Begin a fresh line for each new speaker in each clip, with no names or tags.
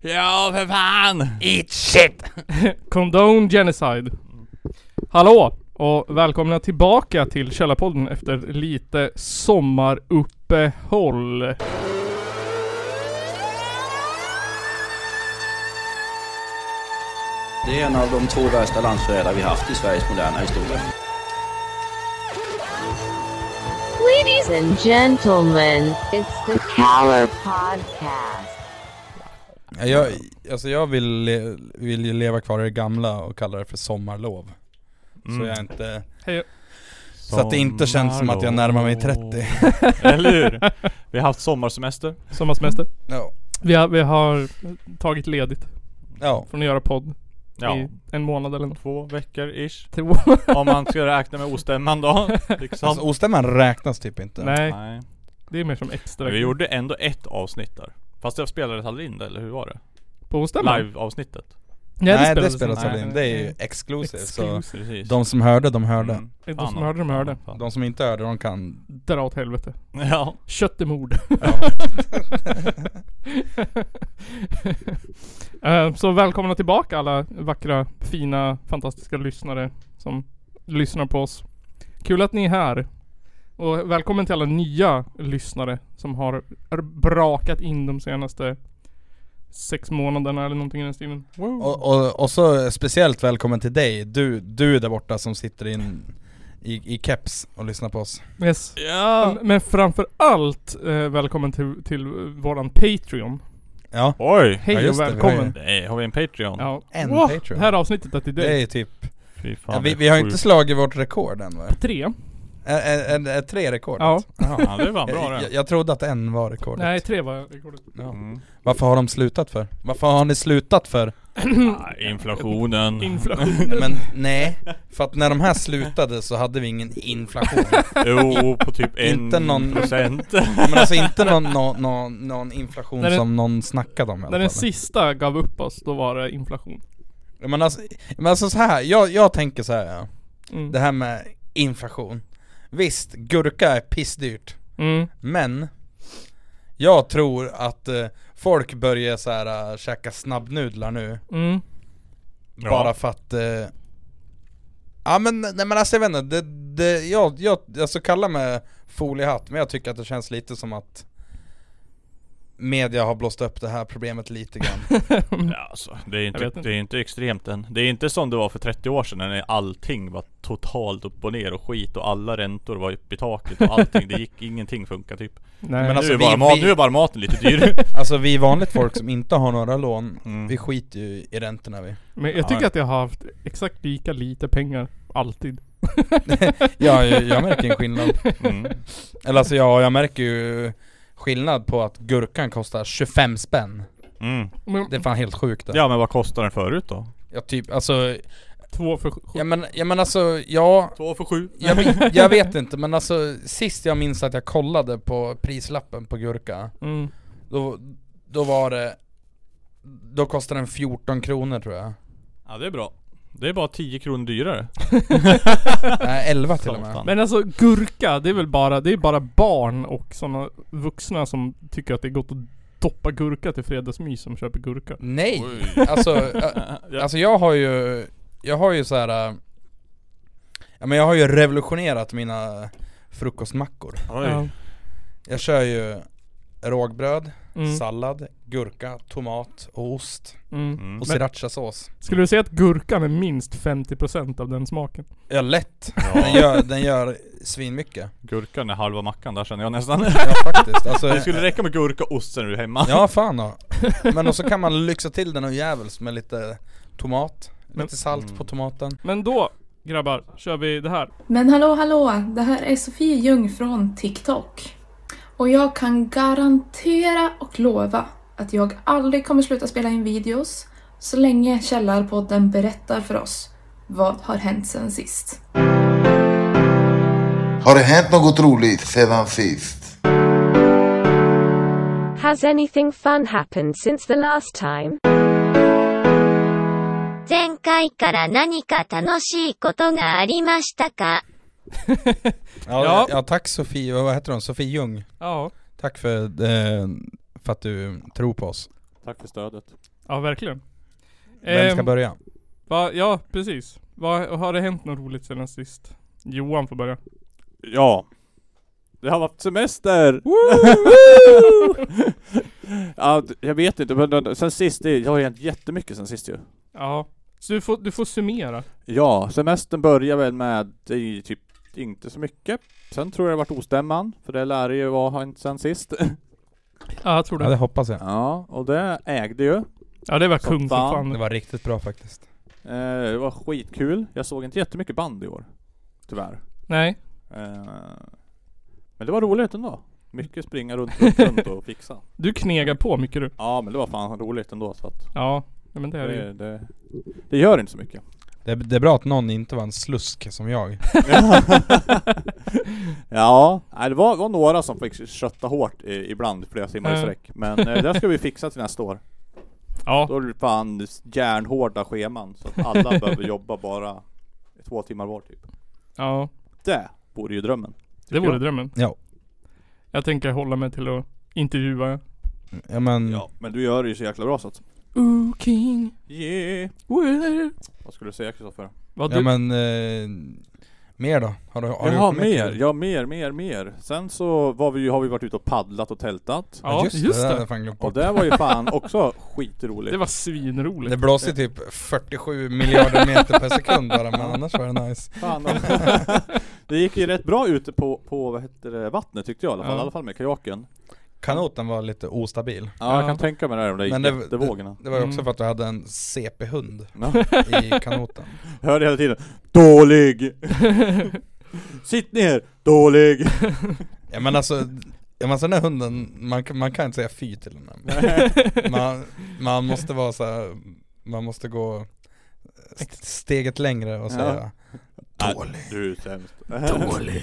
Ja för fan!
Eat shit!
Condone genocide. Hallå och välkomna tillbaka till Källarpodden efter lite sommaruppehåll.
Det är en av de två värsta landsförrädare vi haft i Sveriges moderna historia.
Ladies and gentlemen, it's the Caller Podcast.
Ja, Jag, alltså jag vill, le- vill ju leva kvar i det gamla och kalla det för sommarlov.
Mm.
Så jag inte, så att det inte känns som att jag närmar mig 30.
Eller hur? Vi har haft sommarsemester.
Sommarsemester.
Ja,
Vi har, vi har tagit ledigt
ja.
från att göra podd
Ja.
i en månad eller något.
Två veckor ish.
Två.
Om man ska räkna med ostämman då.
Alltså
Liksom.
ostämman räknas typ inte.
Nej,
Nej.
det är mer som extra.
Men vi gjorde ändå ett avsnitt där. Fast det spelades aldrig in det, eller hur var det?
på ostämman.
Live-avsnitt.
Ja,
Nej det
spelades
spelas
in.
aldrig in, det är ju exclusive så
Exclusive.
Precis.
de som hörde, de hörde.
Mm.
De
Fan,
som hörde, de hörde.
fan.
De som inte hörde, de kan...
Dra åt helvete.
Ja.
Köttemord.
Ja.
Eh, Så välkomna tillbaka alla vackra, fina, fantastiska lyssnare som lyssnar på oss. Kul att ni är här. Och välkommen till alla nya lyssnare som har r- brakat in de senaste sex månaderna eller någonting i den stilen.
Och, och, och så speciellt välkommen till dig, du, du där borta som sitter in i, i keps och lyssnar på oss.
Yes.
Ja.
Men framför allt eh, välkommen till, till våran Patreon.
Ja,
Oj!
Hej
Ja, just
och
det, vi har
välkommen.
Nej, har vi en Patreon?
Ja.
En Patreon.
Det här avsnittet är till dig.
det är typ...
Fy fan,
vi,
det är
vi har
sjukt.
inte slagit vårt rekord än va?
Tre.
Är, är, är, är tre rekordet?
Ja.
Jaha.
Ja det var bra
Eh, jag,
det.
jag trodde att en var rekordet.
Nej, tre var rekordet.
Ja.
Mm.
Varför har de slutat för? Varför har ni slutat för?
Ah, inflationen.
Inflation.
Men nej, för att när de här slutade så hade vi ingen inflation.
jo, på typ en
Inte någon-
procent.
Men alltså inte någon, någon, någon, någon inflation
När den-
som någon snackade om i
När
alla
den
fall.
sista gav upp oss, då var det inflation.
Men alltså, men alltså så här, jag, jag tänker så här. Ja.
Mm.
det här med inflation. Visst, gurka är pissdyrt.
Mm.
Men jag tror att eh, folk börjar så här eh, käka snabbnudlar nu.
Mm.
Ja.
Bara för att... Eh, ja men, nej men alltså jag vet inte, det, det, jag, jag, alltså kalla mig foliehatt men jag tycker att det känns lite som att Media har blåst upp det här problemet lite grann.
Ja, alltså, det, är inte,
vet inte.
det är inte extremt än. Det är inte som det var för 30 år sedan när allting var totalt upp och ner och skit och alla räntor var uppe i taket och allting. Det gick, ingenting funkar typ.
Nej.
Men
nu,
alltså,
är
vi-
bara mat,
vi-
nu är bara maten lite dyr.
alltså vi vanligt folk som inte har några lån,
Mm.
vi skiter ju i räntorna vi.
Men jag tycker att jag har haft exakt lika lite pengar, alltid.
Ja, jag, jag märker en skillnad.
Mm.
Eller alltså ja, jag märker ju skillnad på att gurkan kostar 25 spänn.
Mm.
Men,
Det är fan helt sjukt. Ja.
Ja men vad kostade den förut då?
Jag typ, alltså,
Två för sju.
jag men, jag men alltså, ja,
Två för sju.
Jag, vet- jag vet inte men alltså sist jag minns att jag kollade på prislappen på gurka
Mm.
Då, då var det Då kostade den 14 kronor tror jag
Ja det är bra. Det är bara 10 kronor dyrare.
Nej 11 till och med
Satan.
Men alltså gurka, det är väl bara, det är bara barn och sådana vuxna som tycker att det är gott att doppa gurka till fredagsmys som köper gurka.
Nej!
Oj.
Alltså, ä-
Ja.
alltså jag har ju Jag har ju så här. äh, Ja men jag har ju revolutionerat mina frukostmackor
Oj.
Jag kör ju rågbröd,
Mm.
sallad, gurka, tomat och ost
Mm.
Mm.
Men-
och srirachasås
Skulle du säga att gurkan är minst 50% av den smaken?
Ja lätt! Den
Ja,
gör, den gör svinmycket
gurkan är halva mackan där känner jag nästan.
Ja faktiskt, alltså,
Det skulle räcka med gurka och ost sen är du hemma.
Ja fan ja. Men och så kan man lyxa till den och jävels med lite tomat,
Men-
lite salt
Mm.
på tomaten
Men då, grabbar, kör vi det här.
Men hallå hallå, det här är Sofie Ljung från TikTok. Och jag kan garantera och lova att jag aldrig kommer sluta spela in videos så länge Källarpodden berättar för oss vad har hänt sen sist.
Har det hänt något roligt sedan sist?
Has anything fun happened since the last time?
前回から何か楽しいことがありましたか
Ja,
Ja.
ja. tack Sofie, vad heter hon? Sofie Ljung
Ja.
Tack för, eh, för att du tror på oss
Tack för stödet.
Ja, verkligen.
Vem ska
Ehm,
börja?
va, ja, precis. Va, har det hänt något roligt sedan sist? Johan får börja.
Ja. Det har varit semester! ja, d- jag vet inte, men den- sen sist, det, jag har hänt jättemycket sen sist ju.
Ja. Så du får, du får summera.
Ja, semestern börjar väl med, det är ju typ inte så mycket. Sen tror jag det har varit ostämman, för det lär det ju vara har inte sen sist.
Ja, jag tror
Ja det
det.
hoppas jag.
ja, och det ägde ju.
Ja, det var
Som
kung som
fan.
fan.
Det var riktigt bra faktiskt.
Eh, det var skitkul. Jag såg inte jättemycket band i år. Tyvärr.
Nej.
Eh, men det var roligt ändå. Mycket springa runt, runt, runt och fixa.
Du knegar på mycket du.
Ja men det var fan roligt ändå så att
Ja. ja men det är det ju.
det, det, det gör inte så mycket.
Det, det är bra att någon inte var en slusk som jag.
ja, nej, det var, var några som fick kötta hårt i, ibland flera timmar i
Ja.
sträck. Men eh, det ska vi fixa till nästa år.
Ja.
Då är det fan järnhårda scheman så att alla behöver jobba bara två timmar var typ.
Ja.
Det vore ju drömmen.
Det vore
jag.
drömmen.
Ja.
Jag tänker hålla mig till att intervjua.
Ja men,
Mm.
Ja, men du gör det ju så jäkla bra så att
Ooh king.
Yeah!
Woo.
Vad skulle du säga Kristoffer?
Vad du...
ja, men eh, mer då? Har du, har du
Jaha,
gjort mycket?
mer! Ja, mer, mer, mer! Sen så var vi, ju- har vi varit ute och paddlat och tältat.
Ja, just,
det.
det.
hade jag fan glömt
Och
bort.
det var ju fan också skitroligt.
Det var svinroligt.
Det blåste typ 47 miljarder meter per sekund bara, men annars var det nice.
Fan. det gick ju rätt bra ute på, på vad heter det, vattnet tyckte jag i alla fall,
Ja.
i alla fall med kajaken.
Kanoten var lite ostabil.
Ja, jag
Ja.
kan tänka mig det här om det gick
Men det-
jättevågorna.
Det var ju också
Mm.
för att vi hade en CP-hund
Ja.
i kanoten.
Jag hörde hela tiden Dålig! Sitt ner! Dålig!
Ja men alltså, ja, men sen den här hunden, man, kan- man kan inte säga fy till den. Man, man måste vara så här, man måste gå st- steget längre och säga Dålig.
Ah, du är sämst.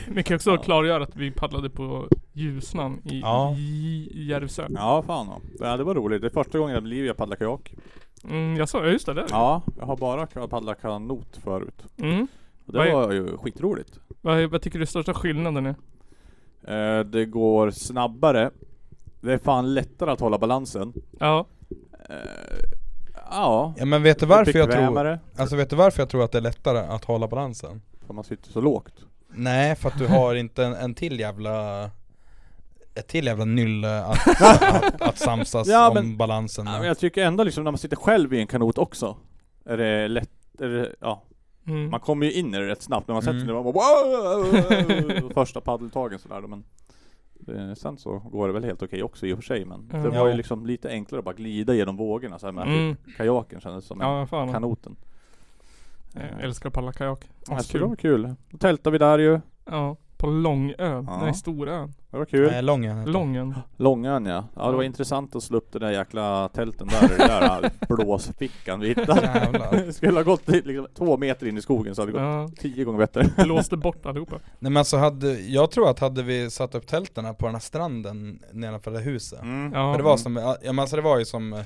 Vi kan också klargöra att vi paddlade på Ljusnan i,
Ja.
i Järvsö.
Ja, fan ja. Ja, det var roligt. Det är första gången i mitt liv jag paddlar kajak.
Mm, jag sa, ja just det, där.
Ja, jag har bara ka- paddlat kanot förut.
Mm.
Och det
Vad är-
var ju skitroligt.
Vad, vad tycker du största skillnaden är?
Eh, det går snabbare. Det är fan lättare att hålla balansen.
Ja,
Eh, ja.
Ja men vet du varför jag tror,
Bekvämare,
alltså vet du varför jag tror att det är lättare att hålla balansen?
För man sitter så lågt.
Nej för att du har inte en, en till jävla ett till jävla nylle att, att, att samsas
Ja,
om
men-
balansen
Ja, men
med.
jag tycker ändå liksom när man sitter själv i en kanot också Är det lätt, är det, ja
mm.
Man kommer ju in i det rätt snabbt när man
Mm.
sätter sig man bara Första paddeltagen sådär men eh, Sen så går det väl helt okej också i och för sig men Det
Mm.
var ju
Ja.
liksom lite enklare att bara glida genom vågorna så här med
Mm.
kajaken kändes som
Ja, fan.
en kanoten
Jag älskar att paddla kajak.
Ja, så
Askul.
det var kul. Då tältade vi där ju
Ja, på Långön.
Ja.
Nej, Storön.
Det var kul.
Nej, lång är den inte.
Långön.
Långön ja. Ja det var
Ja.
intressant att slå upp den där jäkla tälten där, den där blåsfickan vi
Jävlar.
hittade. Skulle ha gått liksom, två meter in i skogen så hade vi gått
Ja,
tio gånger bättre.
blåste bort allihopa.
Nej men alltså hade, jag tror att hade vi satt upp tälten här på den här stranden nedanför det huset
Mm.
Ja.
Men det var som, ja men alltså det var ju som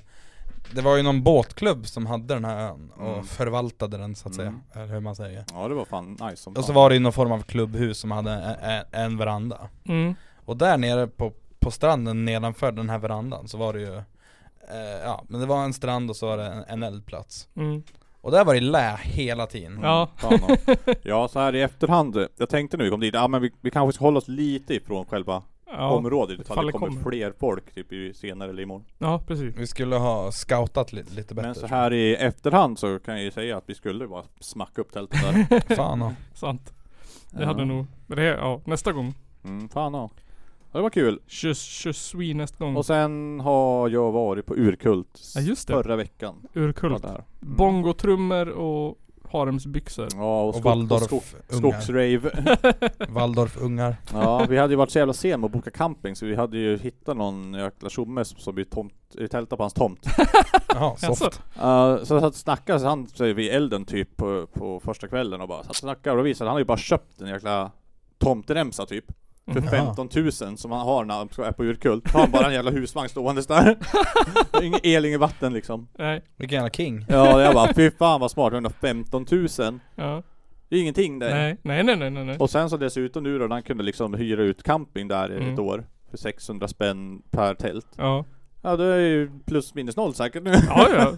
Det var ju någon båtklubb som hade den här ön och
Mm.
förvaltade den så att säga,
Mm.
eller hur man säger
Ja det var fan nice som
Och så
fan.
var det ju någon form av klubbhus som hade en, en veranda
Mm.
Och där nere på, på stranden nedanför den här verandan så var det ju eh, Ja men det var en strand och så var det en, en eldplats
Mm.
Och där var det lä hela tiden
Ja.
Fan, ja. ja så här i efterhand, jag tänkte när vi kom dit, ja men vi, vi kanske ska hålla oss lite ifrån själva
Ja.
området ifall
Ifall
det
det
kommer
kommer.
fler folk typ i- senare eller imorgon.
ja, precis.
Vi skulle ha scoutat lite, lite bättre
Men så här i efterhand så kan jag ju säga att vi skulle bara smacka upp tältet där.
Fan ja.
Sant. Det
Ja.
hade nog... Men det, ja, nästa gång.
Mm, fan ja. ja. Det var kul.
Je, je suis nästa gång.
Och sen har jag varit på Urkult
Mm. Ja, just det.
förra veckan.
Urkult.
Var där. Mm.
Bongotrummor och haremsbyxor.
Ja och,
Och
skog, och skog,
Waldorf-ungar
skogsrave.
Waldorf-ungar
ja vi hade ju varit så jävla sen med att boka camping så vi hade ju hittat någon jäkla tjomme som- som vi tomt, tältade på hans tomt.
Ja, soft
Alltså,
Eh, så jag satt och snackade, så han sig vid elden typ på, på första kvällen och bara satt och snackade och då visade att han har ju bara köpt en jäkla tomteremsa typ för
Mhm.
15 000 som han har när han är på Urkult. Har han bara en jävla husvagn ståendes där. Ingen el, inget vatten liksom.
nej.
Vilken jävla king
Ja, jag bara fy fan vad smart, 115 000.
Ja.
Det är ingenting det.
Nej, nej, nej, nej, nej. nej.
Och sen så dessutom nu då, när han kunde liksom hyra ut camping där i ett
Mm.
år för 600 spänn per tält.
Ja.
Ja det är ju plus minus noll säkert nu.
Ja, ja.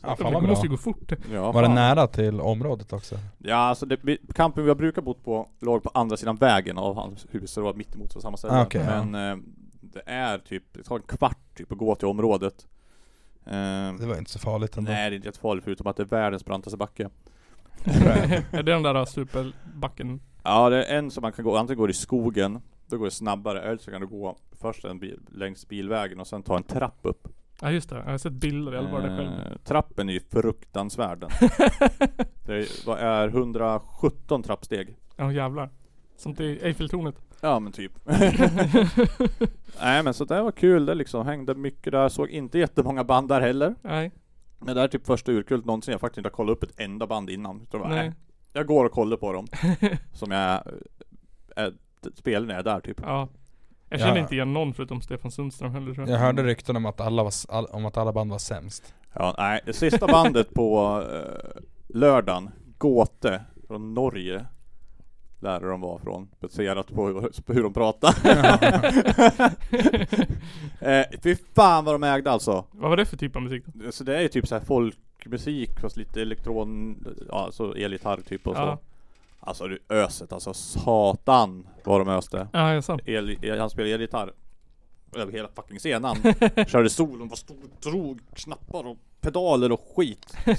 Ja, fan
Det
vad bra.
måste ju gå fort.
Ja,
Var det
fan.
nära till området också?
Ja alltså det, vi- campen vi har brukat bott på låg på andra sidan vägen av hans hus, så det var mittemot på samma ställe.
Ah, okej, ja.
Men eh, det är typ, det tar en kvart typ att gå till området. Eh,
Det var inte så farligt ändå.
nej det är inte jättefarligt förutom att det är världens brantaste backe.
är det den där äh, superbacken?
Ja det är en som man kan gå, antingen går det i skogen, då går det snabbare, eller så kan du gå först en bil, längs bilvägen och sen ta en trapp upp.
Ja just det, jag har sett bilder, jag bara det själv.
Eh, trappen är ju fruktansvärd den. Det är, vad är 117 trappsteg.
Ja jävlar. Sånt i Eiffeltornet.
Ja men typ. Nej men så det var kul, det liksom hängde mycket där, såg inte jättemånga band där heller.
Nej,
Men det här är typ första urkult någonsin, jag faktiskt inte har kollat upp ett enda band innan. Utan bara,
nej.
"Nej, jag går och kollar på dem. som jag äh, spelar när jag är där typ.
Ja. Jag känner
Ja.
inte igen någon förutom Stefan Sundström heller tror
Jag hörde rykten om att alla, var, s- all, om att alla band var sämst.
Ja, nej, det sista bandet på eh, lördagen, Gåte från Norge. Där de var från, baserat på hur, på hur de pratade. eh, fy fan vad de ägde alltså.
Vad var det för typ av musik? då?
Så det är ju typ så här folkmusik fast lite elektron, ja så elgitarr typ och
Ja.
så. Alltså du öset alltså, satan vad de öste.
Ja, jag sa.
El, el, han spelade elgitarr över hela fucking scenen. Körde solon, var stor, drog knappar och pedaler och skit. Nej,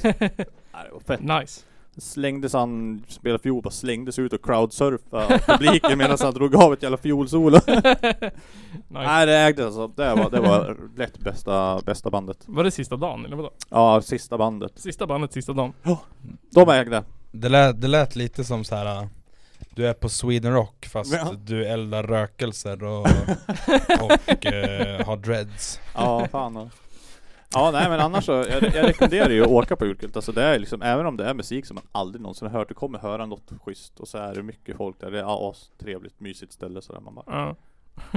det var fett.
Nice.
Slängdes han, spelade fiol, bara slängdes ut och crowdsurfade publiken medan han drog av ett jävla fiolsolo.
nice.
Nej det ägdes alltså, det var, det var lätt bästa, bästa bandet.
Var det sista dagen eller vadå?
Ja, sista bandet.
Sista bandet, sista dagen.
De ägde.
Det lät, det lät lite som så här. äh, Du är på Sweden Rock fast
Ja.
du eldar rökelser och, och eh, har dreads.
Ja, fan. ja. Ja, nej men annars så, jag, jag rekommenderar ju att åka på Urkult. Alltså det är liksom, även om det är musik som man aldrig någonsin har hört, du kommer höra något schysst och så är det mycket folk där. Det är as trevligt, mysigt ställe sådär. Man bara
Ja.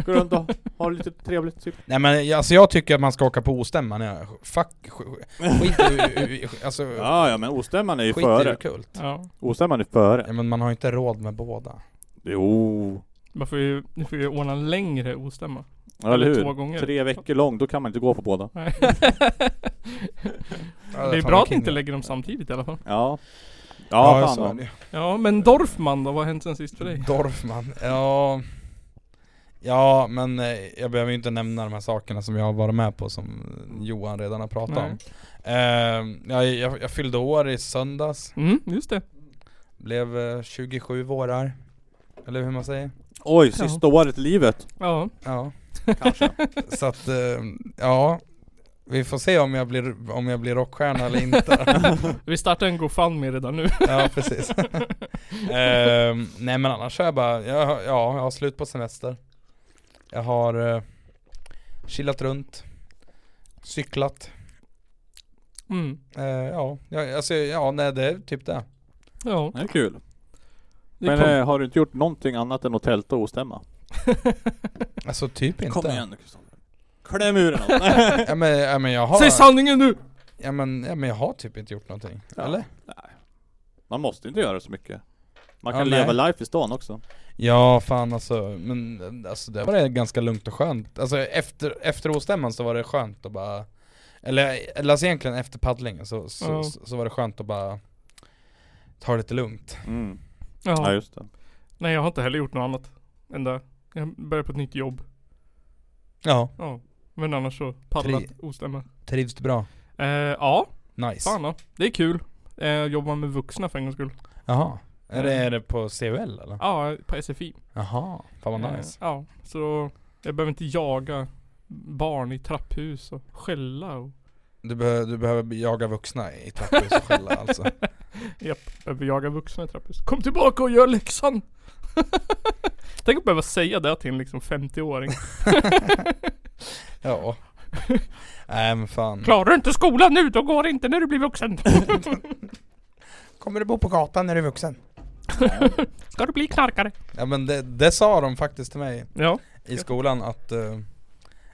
går runt och har lite trevligt typ.
Nej men jag- alltså jag tycker att man ska åka på ostämman. Jag, fuck, sk- skit i- i- i- alltså,
Ja, ja men Ostämman är ju
skit i
före.
Urkult.
ja.
Ostämman är före.
Ja, men man har ju inte råd med båda.
Jo.
Man får ju, ni får ju ordna en längre ostämma.
Ja, eller
Två
hur?
gånger.
Tre veckor lång, då kan man inte gå på båda.
Nej.
Ja,
det är
fan
bra
vad
att ni
king
inte
det.
lägger dem samtidigt i alla fall.
Ja.
Ja,
Ja,
jag
fan.
sa
ja.
det.
Ja, men Dorfman då? Vad har hänt sen sist för dig?
Dorfman, ja... Ja, men eh, jag behöver ju inte nämna de här sakerna som jag har varit med på som eh, Johan redan har pratat
Mm. Nej.
om. Eh, jag, jag, jag fyllde år i söndags,
Mm, just det.
blev eh, 27 vårar. Eller hur man säger?
Oj, sista året i livet.
Ja.
Ja.
Kanske.
Så att, eh, ja. Vi får se om jag blir, om jag blir rockstjärna eller inte.
Vi startar en GoFundMe redan nu.
ja, precis. Eh, nej men annars har jag bara, jag, har- ja, jag har slut på semester. Jag har eh, chillat runt, cyklat.
Mm.
Eh, ja, jag, alltså, ja, nej det är typ det.
Ja.
Det är kul.
Det
Men
kom-
eh, har du inte gjort någonting annat än att tälta och ostämma?
Alltså typ inte.
Kom igen nu Kristoffer. Kläm ur den
Ja men, ja, men jag har,
Säg sanningen nu!
ja, men, ja men jag har typ inte gjort någonting.
Ja.
Eller?
Man måste inte göra så mycket. Man
Ja,
kan
nej.
leva life i stan också.
Ja fan alltså, men alltså det var det ganska lugnt och skönt. Alltså efter, efter ostämman så var det skönt att bara Eller, eller alltså egentligen efter paddlingen så, så,
Ja.
så, så var det skönt att bara Ta det lite lugnt.
Ja
Ja.
just det.
Nej, jag har inte heller gjort något annat. Än det. Jag börjar på ett nytt jobb.
Ja.
Ja. Men annars så paddlat
Tre-
ostämma.
Trivs du bra?
Eh, ja,
Nice.
fan ja. Det är kul. Eh, jobbar med vuxna för en gångs skull.
Jaha. Är det, är det på CUL eller?
Ja, på SFI.
Jaha. Fan vad
Eh,
nice.
Ja, så jag behöver inte jaga barn i trapphus och skälla och
Eh. Du, behö- du behöver jaga vuxna i trapphus och skälla alltså.
behöver jaga vuxna i trapphus. Kom tillbaka och gör läxan! Tänk att behöva säga det till en liksom 50-åring.
Ja. Nej men fan.
Klarar du inte skolan nu, då går det inte när du blir vuxen.
Kommer du bo på gatan när du är vuxen?
Ska du bli knarkare?
Ja men det, det sa de faktiskt till mig
Ja.
i skolan att eh,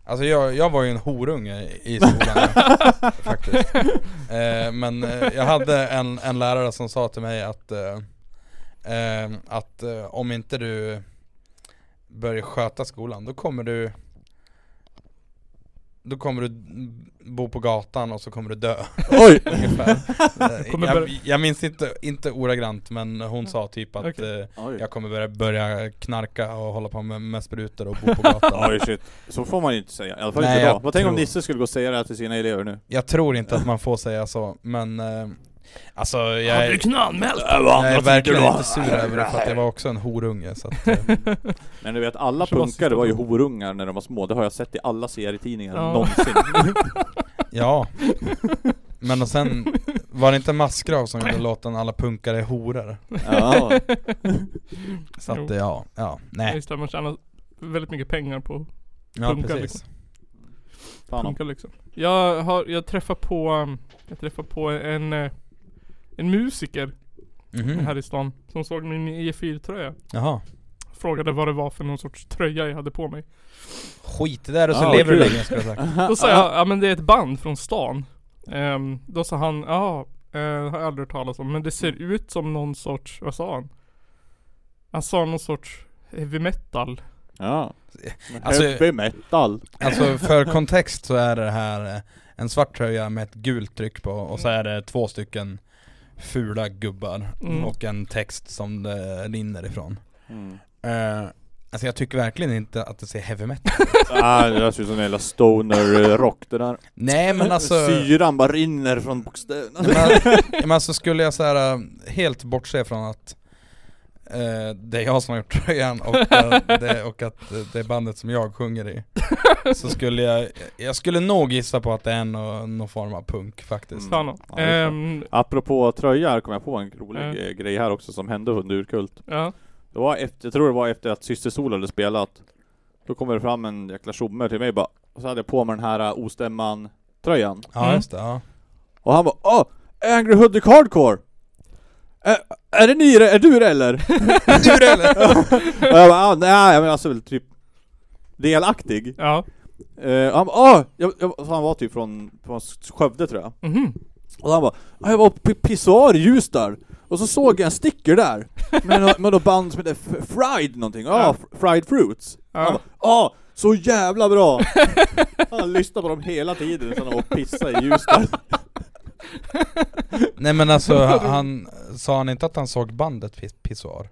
Alltså jag, jag var ju en horunge i skolan faktiskt eh, Men eh, jag hade en, en lärare som sa till mig att eh, eh, Att eh, om inte du börjar sköta skolan då kommer du då kommer du bo på gatan och så kommer du dö
Oj!
ungefär. Eh,
Kommer
jag,
börja-
jag minns inte, inte ordagrant men hon sa typ att
Okej.
eh,
Oj.
jag kommer börja, börja knarka och hålla på med, med sprutor och bo på gatan.
Oj shit. Så får man ju inte säga. I alla fall
Nej,
inte
jag
idag. Vad tänk om
tror-
Nisse skulle gå och säga det här till sina elever nu?
Jag tror inte att man får säga så, men eh, alltså jag
Hade du
är, Äh,
knanmält?
jag är verkligen inte sur över det för att jag var också en horunge så att, eh,
Men du vet, alla
Kanske bara
punkare
sista
var ju
gången.
horungar när de var små. Det har jag sett i alla serietidningar
Ja.
någonsin.
ja. Men och sen var det inte Massgrav som gjorde låten 'Alla punkare är horor'?
ja.
Så att
Jo.
eh, ja, ja, nej.
Just det, man tjänar väldigt mycket pengar på
Ja
Punkar
precis.
liksom.
Fan om.
funkar liksom. Jag har, jag träffar på, um, jag träffar på en, eh, en musiker
Mm.
Mhm.
här i stan som såg min E4-tröja.
Jaha.
Frågade vad det var för någon sorts tröja jag hade på mig.
Skit i det där och så
Ja,
lever du
kul.
länge skulle jag sagt.
Då sa jag, ja men det är ett band från stan. Ehm, då sa han, ja, eh, har jag aldrig hört talas om, men det ser ut som någon sorts, vad sa han? Han sa någon sorts heavy metal.
Ja.
Alltså-
Heavy metal.
Alltså för kontext så är det här eh, en svart tröja med ett gult tryck på och så är det två stycken fula gubbar
Mm.
och en text som det rinner ifrån.
Mm.
Eh, alltså jag tycker verkligen inte att det ser heavy metal
Ah, det där ser ut som en jävla stoner-rock det där.
Nej men alltså,
Syran bara rinner från bokstäverna.
men, al- men alltså skulle jag så här eh, helt bortse från att eh, det är jag som har gjort tröjan och, eh, det, och att eh, det är bandet som jag sjunger i Så skulle jag, jag skulle nog gissa på att det är någon, någon form av punk faktiskt
Mm.
Sa han.
Ja, det är
Ehm,
Apropå tröjor kom jag på en rolig
Mm.
Ja.
eh, grej här också som hände under Urkult.
ja.
Det var efter, jag tror det var efter att Syster Sol hade spelat. Då kommer det fram en jäkla tjomme till mig bara, och så hade jag på mig den här eh, Ostämman-tröjan.
Mm.
Ja just det, ja.
Och han bara Åh! Angry Hoodic Hardcore! Ä- är det ni det? Är du det eller?
Du det eller?
och jag bara ah, nej men alltså väl typ Delaktig.
ja.
Eh, och han bara Åh! Jag, jag, så han var typ från, från Skövde tror jag.
Mhm.
Och han bara "Ja, Jag var på pissoar i Ljusdal och så såg jag en sticker där med, nå- med något band som heter F- Fried någonting, ja,
Ja.
F- Fried Fruits. Han
Ja.
bara ah, så jävla bra! han lyssnade på dem hela tiden så han var och pissade i Ljusdal.
Nej men alltså han, sa han inte att han såg bandet Piss- Pissoar?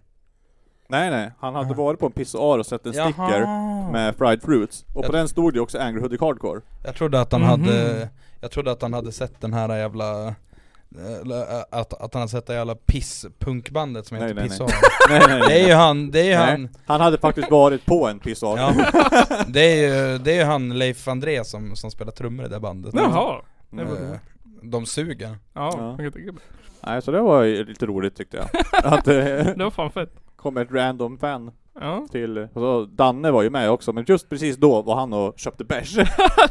Nej nej, han hade varit på en pissoar och sett en sticker med Fried Fruits. Och på
Jag-
den stod det ju också Angry Hoodie Hardcore.
Jag trodde att han
Mhm.
hade, jag trodde att han hade sett den här jävla eller, ä, att, att han hade sett det jävla pisspunkbandet som
Nej,
heter
nej, nej.
Pissoar
nej, nej,
Det är ju han, det är ju
Nej.
han
Han hade faktiskt varit på en pissoar.
ja, det, är ju, det är ju han Leif André som, som spelar trummor i det bandet
Jaha.
Eh,
Det var roligt.
De suger
Ja,
Ja.
jag kan tänka mig.
Nej, så det var ju lite roligt tyckte jag. Att det
Det var fan fett.
kom ett random fan
Ja.
till... Och så Danne var ju med också, men just precis då var han och köpte bärs. Så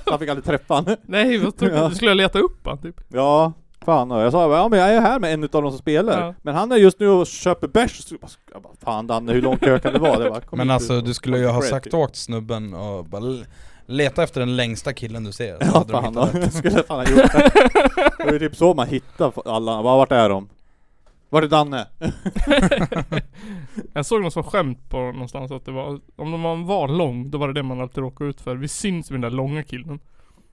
han fick aldrig träffa han.
Nej vad tråkigt,
Ja.
du skulle jag leta upp han typ.
Ja, fan. Och jag sa bara, ja men jag är här med en utav de som spelar.
Ja.
Men han är just nu och köper bärs. Så jag bara, jag bara, Fan Danne, hur lång kö kan det vara? Det bara, kom
Men
hit
alltså
ut.
du skulle ju ha
Credit.
sagt åt snubben och bara l- leta efter den längsta killen du ser så
Ja
hade de
fan,
hittat
jag skulle fan ha gjort det. Det var ju typ så man hittar alla, Bara, vart är de? Vart är Danne?
Jag såg någon som skämt på någonstans att det var, om man var lång då var det det man alltid råkade ut för. Vi syns med den där långa killen. Han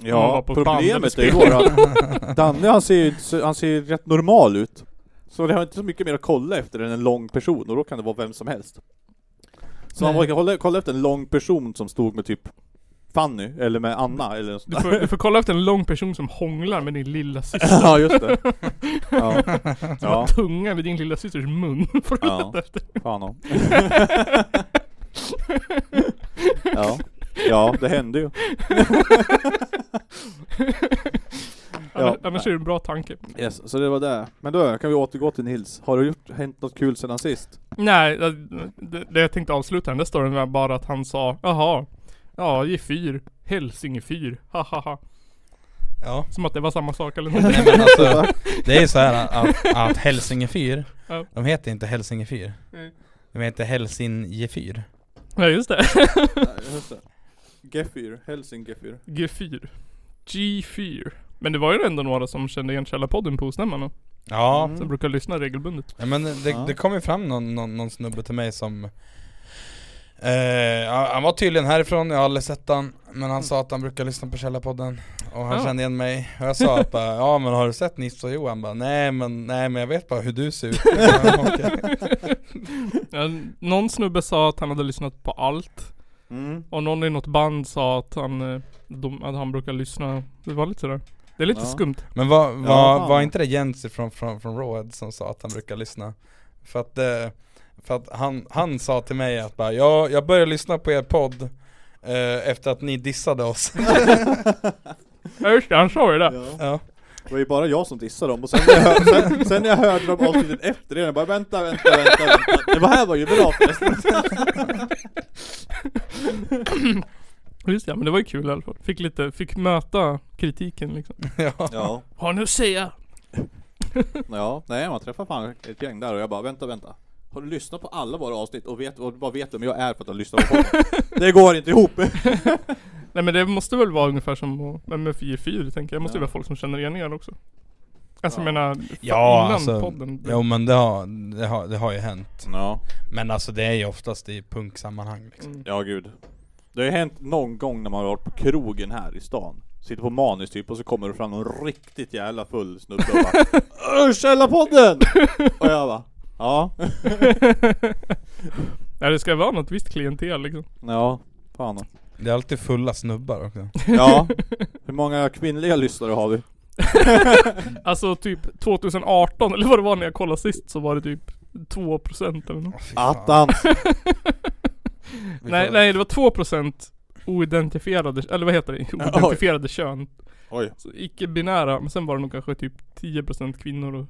var
Ja,
på
problemet är
band.
ju då att Danne han ser ju inte- han ser ju rätt normal ut. Så det har inte så mycket mer att kolla efter än en lång person och då kan det vara vem som helst. Så man
Nej.
måste kolla, kolla efter en lång person som stod med typ Fanny eller med Anna eller något sånt
Du
där.
får, du får kolla efter en lång person som hånglar med din lilla syster.
Ja just det. Ja. Ja,
Tungan i din lilla systers mun. Får du
Ja.
leta efter.
fan om. Ja. ja, det hände ju.
Annars,
Ja.
annars är det en bra tanke.
Yes, så det var det. Men då kan vi återgå till Nils. Har det gjort, hänt något kul sedan sist?
Nej, det, det jag tänkte avsluta den där storyn var bara att han sa Jaha, ja G4, Hälsingefyr, hahaha.
Ja
Som att det var samma sak eller
Nej
någonting.
men alltså, det är ju så här att, att Hälsinge fyr,
Ja.
de heter inte Hälsinge fyr.
Nej.
De heter Hälsinge fyr.
Ja just det.
Nej, just det. Gefyr, Helsingefyr.
G4. G4. Men det var ju ändå några som kände igen Källarpodden på Osnämmarna.
Ja,
Mm.
Som brukar lyssna regelbundet.
ja, men det,
Ja.
det kom ju fram någon, någon, någon snubbe till mig som Eh, han han var tydligen härifrån, jag har aldrig sett han Men han sa att han brukar lyssna på Källarpodden Och han
Mm. Ja.
kände igen mig Och jag sa att bara, ja men har du sett Nisse och Johan? Bara, nej men, nej men jag vet bara hur du ser ut Ja, okej.
Ja, någon snubbe sa att han hade lyssnat på allt.
Mm.
Och någon i något band sa att han, eh, de, att han brukar lyssna. Det var lite sådär. Det är lite
Ja.
skumt.
Men var, var,
Ja.
var inte det Jens från, från, från Rawhead som sa att han brukar lyssna? För att, eh, för att han, han sa till mig att bara, ja, jag började lyssna på er podd eh, Efter att ni dissade oss
Ja just det, han sa ju det.
Ja.
ja.
Det var ju bara jag som dissade dem och sen när jag, hör- sen, sen när jag hörde dem avsnittet efter det, jag bara vänta, vänta, vänta, vänta. Det här var ju bra förresten.
Just det, ja, men det var ju kul i alla fall. Fick lite, fick möta kritiken liksom.
ja.
Ja,
Har ni att säga?
ja, nej man träffar fan ett gäng där och jag bara vänta, vänta. Har du lyssnat på alla våra avsnitt och vet, och vad vet du om jag är för att du har lyssnat på dem? Det går inte ihop!
Nej men det måste väl vara ungefär som att- men med 4-4 tänker jag. Det måste ju
Ja.
vara folk som känner igen er också. Alltså
Ja.
jag menar, fa-
Ja,
innan
alltså,
podden.
Jo men det har, det har, det har ju hänt
Ja,
Men alltså det är ju oftast i punksammanhang liksom.
Mm.
ja gud. Det har ju hänt någon gång när man har varit på krogen här i stan. Sitter på manus typ och så kommer det fram någon riktigt jävla full snubbe och bara "Åh, Källarpodden! Och jag bara Ja,
Ja det ska vara något visst klientel liksom.
ja, fan
Det är alltid fulla snubbar också.
Ja, hur många kvinnliga lyssnare har vi?
Alltså typ 2018 eller vad det var när jag kollade sist så var det typ 2% eller något.
Åh, fy fan.
Attans!
Vi
Nej,
får-
nej det var 2% oidentifierade, eller vad heter det? Oidentifierade kön.
Oj.
Så icke-binära, men sen var det nog kanske typ 10% kvinnor och...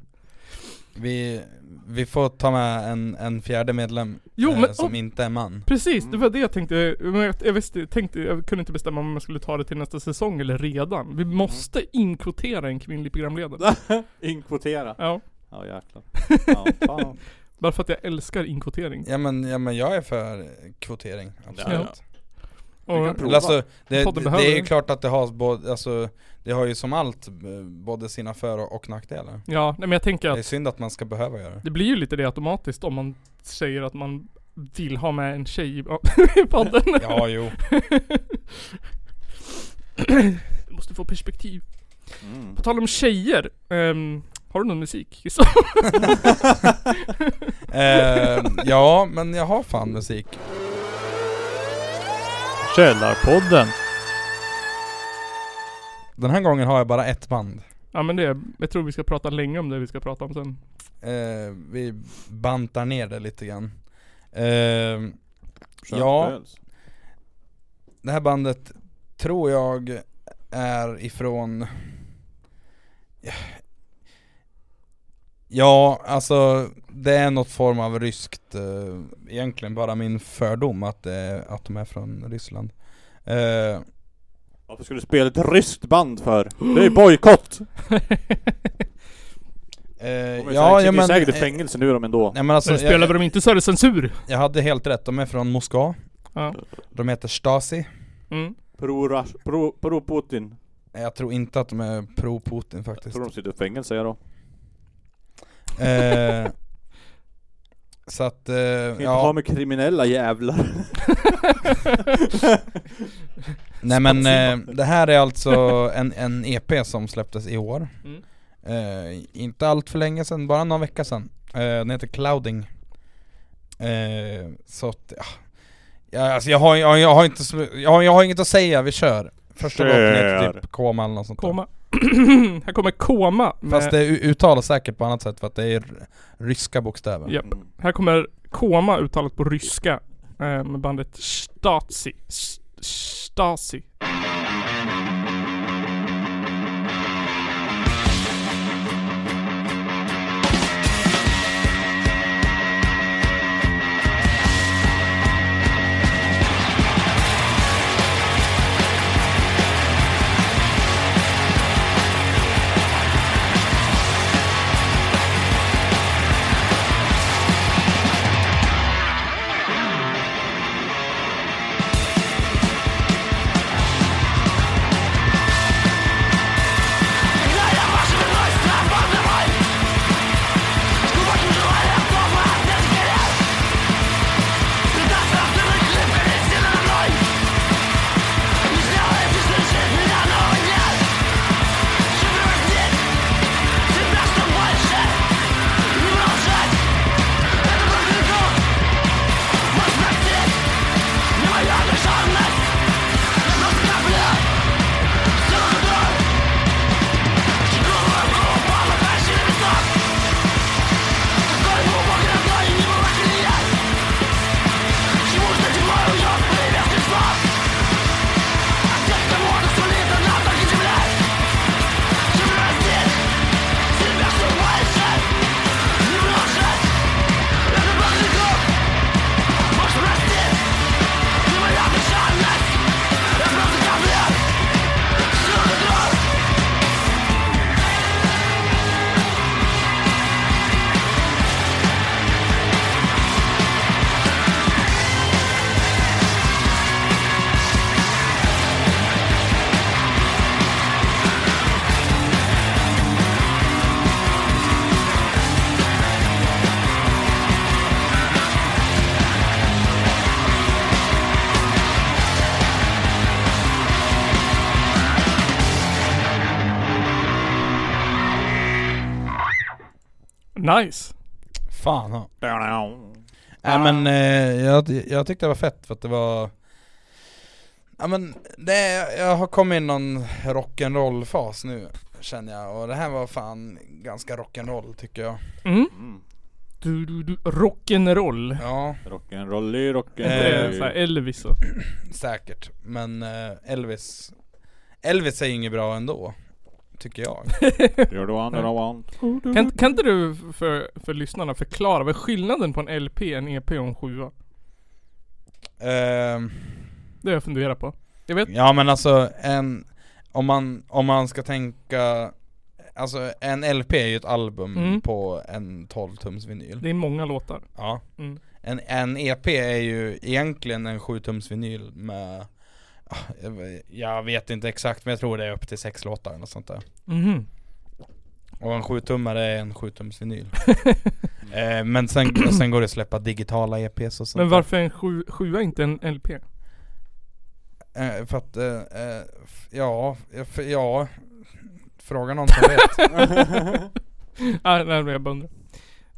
Vi, vi får ta med en, en fjärde medlem
Jo
eh,
men
som
oh,
inte är man.
precis,
Mm.
det var det jag tänkte. Men Jag, jag, visste, tänkte, jag kunde inte bestämma om jag skulle ta det till nästa säsong eller redan.
Mm.
Vi måste inkvotera en kvinnlig programledare.
Inkvotera.
Ja,
Ja jäklar. Ja, fan.
bara för att jag älskar inkvotering.
Ja men, ja men jag är för kvotering,
Ja,
absolut.
Och,
prova.
Eller Alltså, det,
Podden
det,
behöver
det är ju
det.
klart att det har både, alltså, det har ju som allt eh, både sina för och, och nackdelar.
ja, nej men jag tänker
Det är
att
synd att man ska behöva göra det.
det blir ju lite det automatiskt om man säger att man vill ha med en tjej i i podden.
Ja jo.
Jag måste få perspektiv.
Mm.
På tal om tjejer. ehm, har du någon musik? Gissa.
eh, ja men jag har fan musik.
Källarpodden!
Den här gången har jag bara ett band.
Ja men det, jag tror vi ska prata länge om det vi ska prata om sen.
Eh, vi bantar ner det lite grann. Eh,
Skönt
Ja.
föls.
det här bandet tror jag är ifrån Ja, alltså det är något form av ryskt eh, Egentligen bara min fördom att, det är- att de är från Ryssland eh,
Varför skulle du spela ett ryskt band för? Det är ju bojkott!
eh,
De ja,
Ja, ja
sitter
men,
men, säkert i
eh,
fängelse nu de ändå.
nej, men alltså,
Så spelar
jag,
väl de inte så är det censur?
jag hade helt rätt, de är från Moskva
Ja.
De heter Stasi
Mm.
Pro-Putin. Pro, pro Putin.
Jag tror inte att de är pro-Putin faktiskt
tror de sitter i fängelse ja, då.
eh, Så att, eh,
Kan inte ha
ja,
med kriminella jävlar.
nej men eh, det här är alltså en, en EP som släpptes i år
Mm.
Eh, inte allt för länge sedan, bara någon vecka sedan. Eh, den heter Clouding. Eh, så att, ja. ja alltså jag, har, jag, har- jag, har inte, så- jag, har, jag har inget att säga, vi kör. Första
Kör.
låten heter typ Koma eller något sånt där.
Koma. Här kommer Koma med,
Fast det u- uttalas säkert på annat sätt för att det är r- ryska bokstäver.
Ja. Här kommer Koma uttalat på ryska. eh, Med bandet Stasi. S- Stasi.
「
Nice!
Fan ja.
Ja,
Nej men eh, jag, jag tyckte det var fett för att det var Ja men det, jag har kommit in i någon rock'n'roll fas nu känner jag och det här var fan ganska rock'n'roll tycker jag
Mm. Du, du, du. Rock'n'roll.
Ja
Rock'n'rolly,
Äh, så här
rock'n'rolly.
Elvis och...
säkert men eh, Elvis Elvis är ju inget bra ändå Tycker jag
You're the one that I want.
Kan, kan inte du för, för lyssnarna förklara vad är skillnaden på en LP, en EP och en 7
Ehm,
Det har jag funderat på. Jag vet.
Ja men alltså en Om man, om man ska tänka Alltså en LP är ju ett album
Mm.
på en 12 tums vinyl
Det är många låtar.
Ja.
Mm.
En, en EP är ju egentligen en 7-tums vinyl med ah, jag vet- jag vet inte exakt men jag tror det är upp till sex låtar eller något sånt där.
Mhm.
Och en 7-tummare är en 7-tums vinyl. eh, men sen, sen går det att släppa digitala EPs och sånt
Men
där.
varför är en 7 sjua inte en LP?
Eh, för att, eh, eh, f- ja, eh, för, ja. Fråga någon som vet.
Ah, nej, jag bara undrar.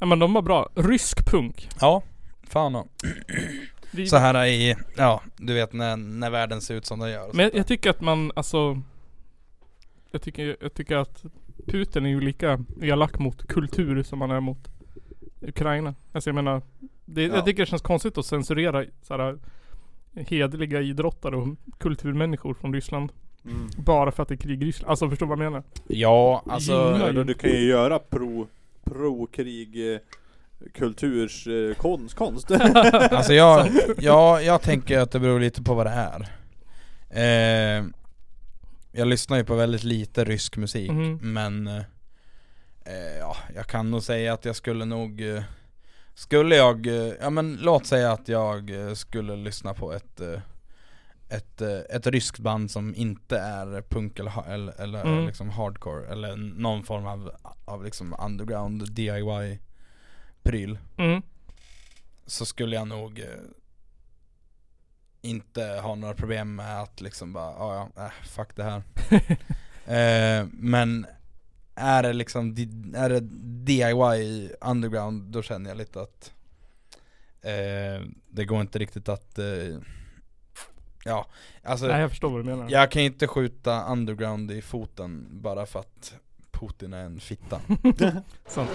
Nej men de var bra. Rysk punk.
Ja, fan då.
Vi,
Så här i, ja du vet när, när världen ser ut som den gör. och
Men
sånt där.
jag tycker att man alltså... Jag tycker, jag tycker att Putin är ju lika elak mot kultur som han är mot Ukraina. Alltså jag menar, det,
Ja.
jag tycker det känns konstigt att censurera så här, hedliga idrottare och kulturmänniskor från Ryssland.
Mm.
Bara för att det är krig i Ryssland. Alltså förstår du vad jag menar?
Ja, alltså.
Gynnar
Ja, då
ju-
du kan ju göra pro, pro-krig eh, kulturs eh, konst, konst.
Alltså jag, jag, jag tänker att det beror lite på vad det är eh, Jag lyssnar ju på väldigt lite rysk musik
Mhm.
men eh, ja, Jag kan nog säga att jag skulle nog eh, Skulle jag, eh, ja men låt säga att jag eh, skulle lyssna på ett eh, ett, eh, ett ryskt band som inte är punk eller, ha- eller, eller
Mm.
liksom hardcore eller någon form av, av liksom underground DIY pryl
Mm.
så skulle jag nog eh, inte ha några problem med att liksom bara, "Ah, ja, äh, fuck det här. eh, men är det liksom, di- är det DIY underground, då känner jag lite att eh, det går inte riktigt att, eh, ja, alltså
Nej jag förstår vad du menar.
jag kan inte skjuta underground i foten bara för att Putin är en fitta.
Sant.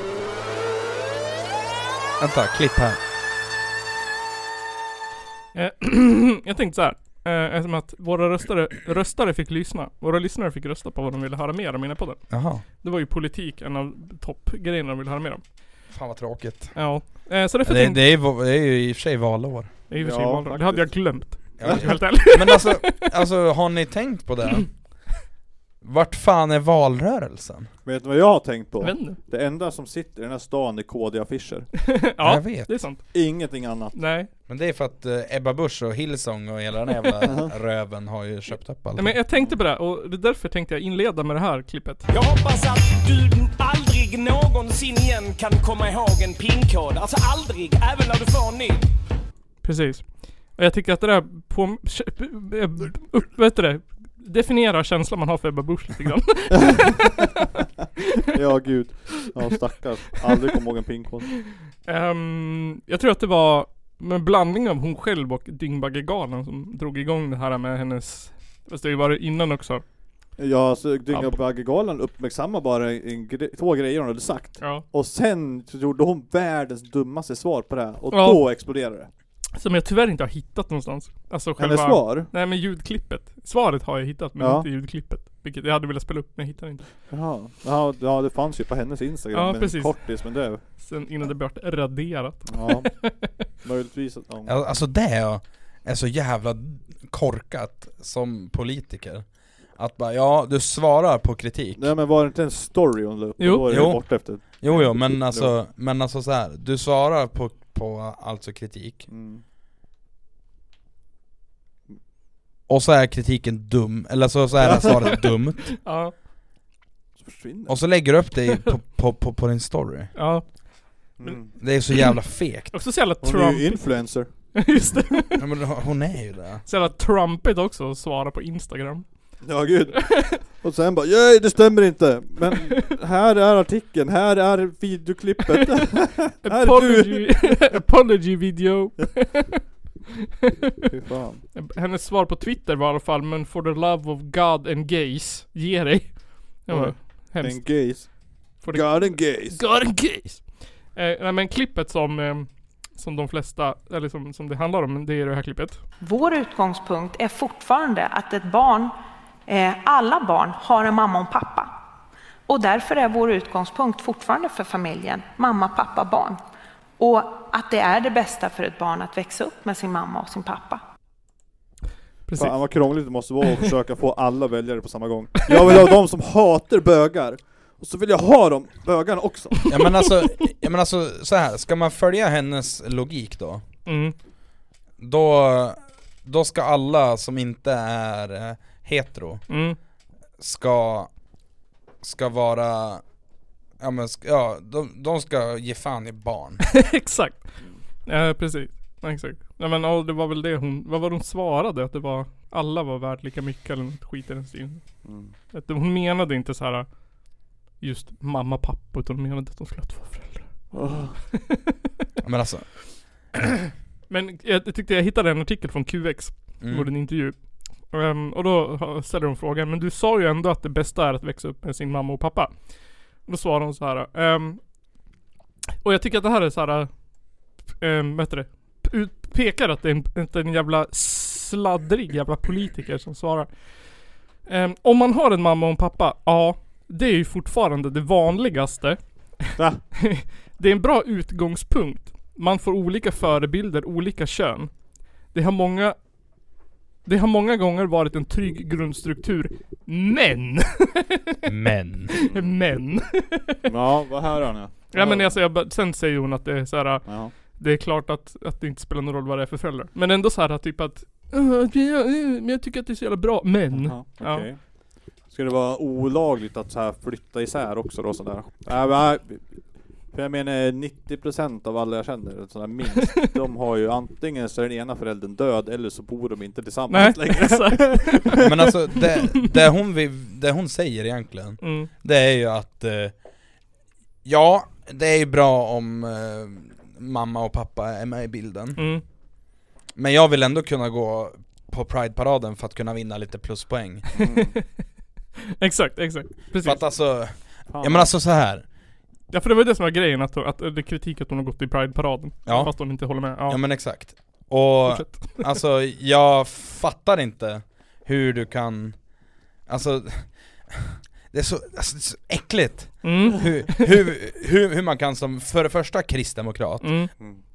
Vänta, klipp här.
Eh, jag tänkte så här. Eh, eftersom att våra röstare, röstare fick lyssna. Våra lyssnare fick rösta på vad de ville höra mer om i den här podden.
Jaha,
Det var ju politik en av toppgrejerna de ville höra mer om.
fan vad tråkigt.
Ja. Eh, så därför
Det, det,
tänkte
är, ju va- det är ju i och för sig valår.
det, är i och för sig
Ja,
valdag. det
faktiskt.
hade jag glömt.
Ja,
Helt ärligt.
Men alltså, alltså, har ni tänkt på det? Vart fan är valrörelsen?
Vet du vad jag har tänkt på?
Vänd nu.
Det enda som sitter i den här stan är KD-affischer.
Ja,
Jag vet.
det är sant.
Ingenting annat.
Nej.
Men det är för att eh, Ebba Busch och Hillsong och hela den jävla röven har ju köpt upp allt.
Nej, men jag tänkte på det här, och det är därför tänkte jag inleda med det här klippet.
Jag hoppas att du aldrig någonsin igen kan komma ihåg en pinkod. Alltså aldrig, även när du får en ny.
Precis. Och jag tycker att det där på... Upp, vet du det? Definierar känslan man har för Ebba Busch lite grann.
Ja gud. Ja stackars. Aldrig kom ihåg en pinkod.
Ehm, jag tror att det var en blandning av hon själv och Dyngbaggegalan som drog igång det här med hennes... Fast det har ju varit innan också.
Ja så Dyngabaggegalan uppmärksammar bara en gre- två grejer hon hade sagt.
Ja.
Och sen så gjorde hon världens dummaste svar på det här. Och
Ja.
då exploderade det.
Som jag tyvärr inte har hittat någonstans. Alltså själva...
Hennes svar?
Nej men ljudklippet. Svaret har jag hittat men
Ja.
inte ljudklippet. Vilket jag hade velat spela upp men jag hittade inte.
Jaha. Ja, ja det fanns ju på hennes instagram.
Ja,
men
precis.
Kortis men det.
Sen innan det blev raderat.
Ja. Möjligtvis att... Ja.
Ja, Alltså det är så jävla korkat som politiker. Att bara, ja du svarar på kritik.
Nej men var det inte en story hon la upp?
Jo.
Jo. Då är det
Jo.
borta efter.
Jo jo men alltså, men alltså så här. du svarar på, på alltså kritik.
Mm.
Och så är kritiken dum, eller så, så är svaret dumt.
Ja.
Så försvinner
Och så lägger du upp det i- på, på, på, på din story.
Ja.
det. Mm.
Det är så jävla fegt.
Också så jävla
Hon är
Trump.
ju influencer.
Just det.
Ja, men hon är ju det.
Så jävla Trumpigt också att svara på Instagram.
Ja gud. Och sen bara nej det stämmer inte. Men här är artikeln, här är videoklippet. här är du.
Apology, apology video.
Fy fan.
Hennes svar på Twitter var i alla fall 'Men for the love of God and gays, ge dig' Det var
Oj. En
hemskt.
gays.
For the-
God and gays.
God and gays! Eh, nej men klippet som, eh, som de flesta, eller som, som det handlar om, det är det här klippet.
Vår utgångspunkt är fortfarande att ett barn, eh, alla barn har en mamma och en pappa. Och därför är vår utgångspunkt fortfarande för familjen mamma, pappa, barn. Och att det är det bästa för ett barn att växa upp med sin mamma och sin pappa.
Precis.
Fan vad krångligt det måste vara att försöka få alla väljare på samma gång. Jag vill ha de som hatar bögar. Och så vill jag ha de bögarna också.
Ja men alltså, ja, men alltså så här. ska man följa hennes logik då?
Mm.
Då, då ska alla som inte är eh, hetero,
Mm.
ska, ska vara, ja men ska, ja, de, de ska ge fan i barn.
Exakt. Ja, precis. Ja, Exakt. Nej men ja, det var väl det hon, vad var det hon svarade? Att det var, alla var värd lika mycket eller något skit i den stilen.
Mm.
Att hon menade inte så här just mamma och pappa utan hon menade att de skulle ha två föräldrar.
Ja, men alltså,
Men jag, jag tyckte jag hittade en artikel från QX.
Mm.
Gjorde en intervju. Ehm, och då ha- ställer hon frågan, men du sa ju ändå att det bästa är att växa upp med sin mamma och pappa. Och då svarar hon så här. ehm, och jag tycker att det här är så här. Um, vad heter det? P- ut- Pekar att det är en, inte en jävla sladdrig jävla politiker som svarar. Ehm, om man har en mamma och en pappa, ja. Det är ju fortfarande det vanligaste.
Va?
det är en bra utgångspunkt. Man får olika förebilder, olika kön. Det har många det har många gånger varit en trygg grundstruktur, men,
men.
men.
Ja, vad här har ni?
Ja men alltså, jag, bara- sen säger hon att det är så här,
Ja.
det är klart att, att det inte spelar någon roll vad det är för föräldrar. Men ändå så här typ att, "Ah, det- ja, eh, men jag tycker att det är så jävla bra, men.
Jaha, okej. Ska det vara olagligt att så här flytta isär också då sådär? Nej, men, nej, för jag menar 90% av alla jag känner, sådär minst, de har ju antingen så är den ena föräldern död eller så bor de inte
Nej,
tillsammans längre.
exakt.
Ja, men alltså det, det, hon, vill- det hon säger egentligen,
Mm,
det är ju att, eh, ja det är ju bra om eh, mamma och pappa är med i bilden.
mm,
Men jag vill ändå kunna gå på Pride-paraden för att kunna vinna lite pluspoäng.
exakt, exakt.
För
Precis.
att alltså,
Fan.
ja men alltså så här.
Ja för det var ju det som var grejen, att, att det är kritik att hon har gått i Pride-paraden.
Ja.
Fast hon inte håller med. Ja,
Ja men exakt. Och
fortsätt.
alltså jag fattar inte hur du kan, alltså det är så, alltså, det är så äckligt
Mm,
hur, hur, hur, hur man kan som för det första kristdemokrat,
mm,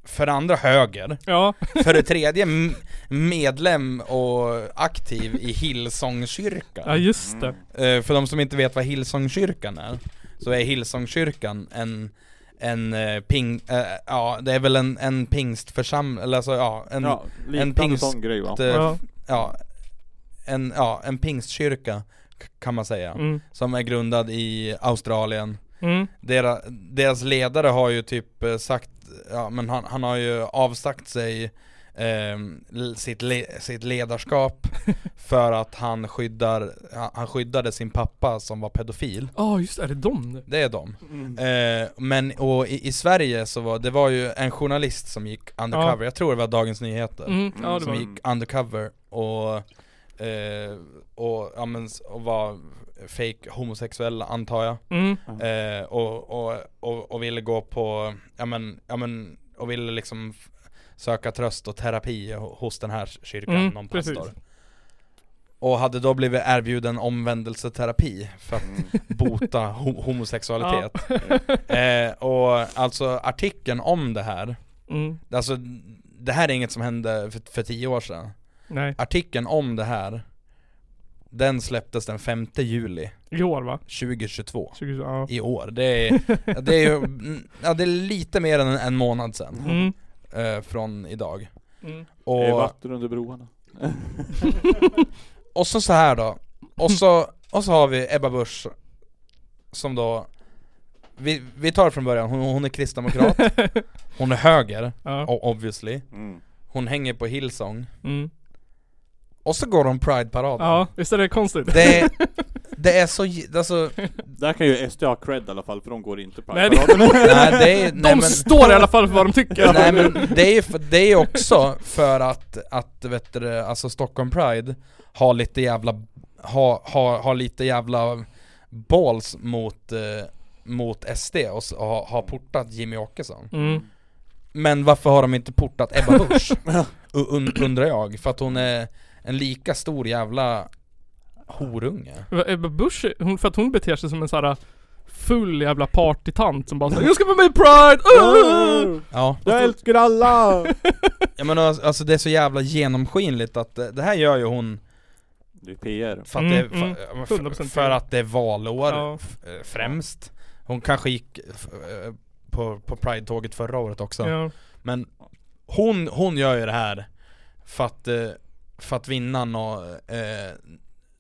för det andra höger,
ja.
för det tredje m- medlem och aktiv
Ja
i Hillsongkyrkan.
just det.
Eh, För de som inte vet vad Hillsongkyrkan är, så är Hillsongkyrkan en en eh, ping, eh, ja det är väl en, en pingstförsamling, eller alltså ja, en,
Ja,
en
liknande
pingst-
sån grej va?
att, eh,
Ja.
f- ja, en, ja, en pingstkyrka k- kan man säga,
Mm,
som är grundad i Australien.
mm,
Deras, deras ledare har ju typ eh, sagt, ja men han, han har ju avsagt sig ehm, l- sitt, le, sitt ledarskap för att han skyddar, han- han skyddade sin pappa som var pedofil.
Ja just det, är det dem det?
Det är de.
Mm.
Eh, men och i, i Sverige så var det var ju en journalist som gick undercover, jag tror det var Dagens Nyheter
Mm, ja det
som
var
gick undercover och, eh, och, ja, men, s- och var fake homosexuell antar jag
Mm,
eh, och, och, och, och ville gå på, ja men, ja men, och ville liksom f- söka tröst och terapi ho- hos den här kyrkan,
Mm,
någon
precis.
pastor Och hade då blivit erbjuden omvändelseterapi för att bota ho- homosexualitet eh, Och alltså artikeln om det här
mm,
Alltså det här är inget som hände för, för tio år sedan
nej.
Artikeln om det här Den släpptes den 5 juli
I år va?
2022
20, ja.
I år, det är, det är ju, mm, ja, det är lite mer än en månad sedan
Mm,
eh, Från idag
mm,
Det är
och,
vatten under broarna.
och så så här då och så, och så har vi Ebba Busch Som då Vi, vi tar det från början, hon, hon är kristdemokrat Hon är höger,
ja.
o- obviously
Mm.
Hon hänger på Hillsong
Mm,
Och så går de Pride-paraden.
Ja, visst är det konstigt?
Det, det är så... j- Alltså,
Där kan ju SD ha cred i alla fall för de går inte på
Nej,
den
det-
paraden.
nej, det är,
De
nej, men,
står i alla fall för vad de tycker.
Nej men det är ju för, det är också för att, att vet du, det, alltså Stockholm Pride har lite jävla, har, har, har lite jävla balls mot, eh, mot SD och s- och har, har portat Jimmy Åkesson.
Mm.
Men varför har de inte portat Ebba Busch? U- und- undrar jag, för att hon är en lika stor jävla horunge.
Ebba Busch, eh, hon, för att hon beter sig som en sån här äh, full jävla partytant som bara säger 'Jag ska vara med i Pride!' Uh!
Ja.
Jag älskar alla!
Jag menar alltså det är så jävla genomskinligt att eh, det här gör ju hon
Det är PR.
För att,
Mm,
det,
mm.
för, för,
100%
för att det är valår
Ja.
f- eh, främst Hon kanske gick f- eh, på, på Pride-tåget förra året också
Ja.
Men hon, hon gör ju det här för att, eh, för att vinna nå, eh,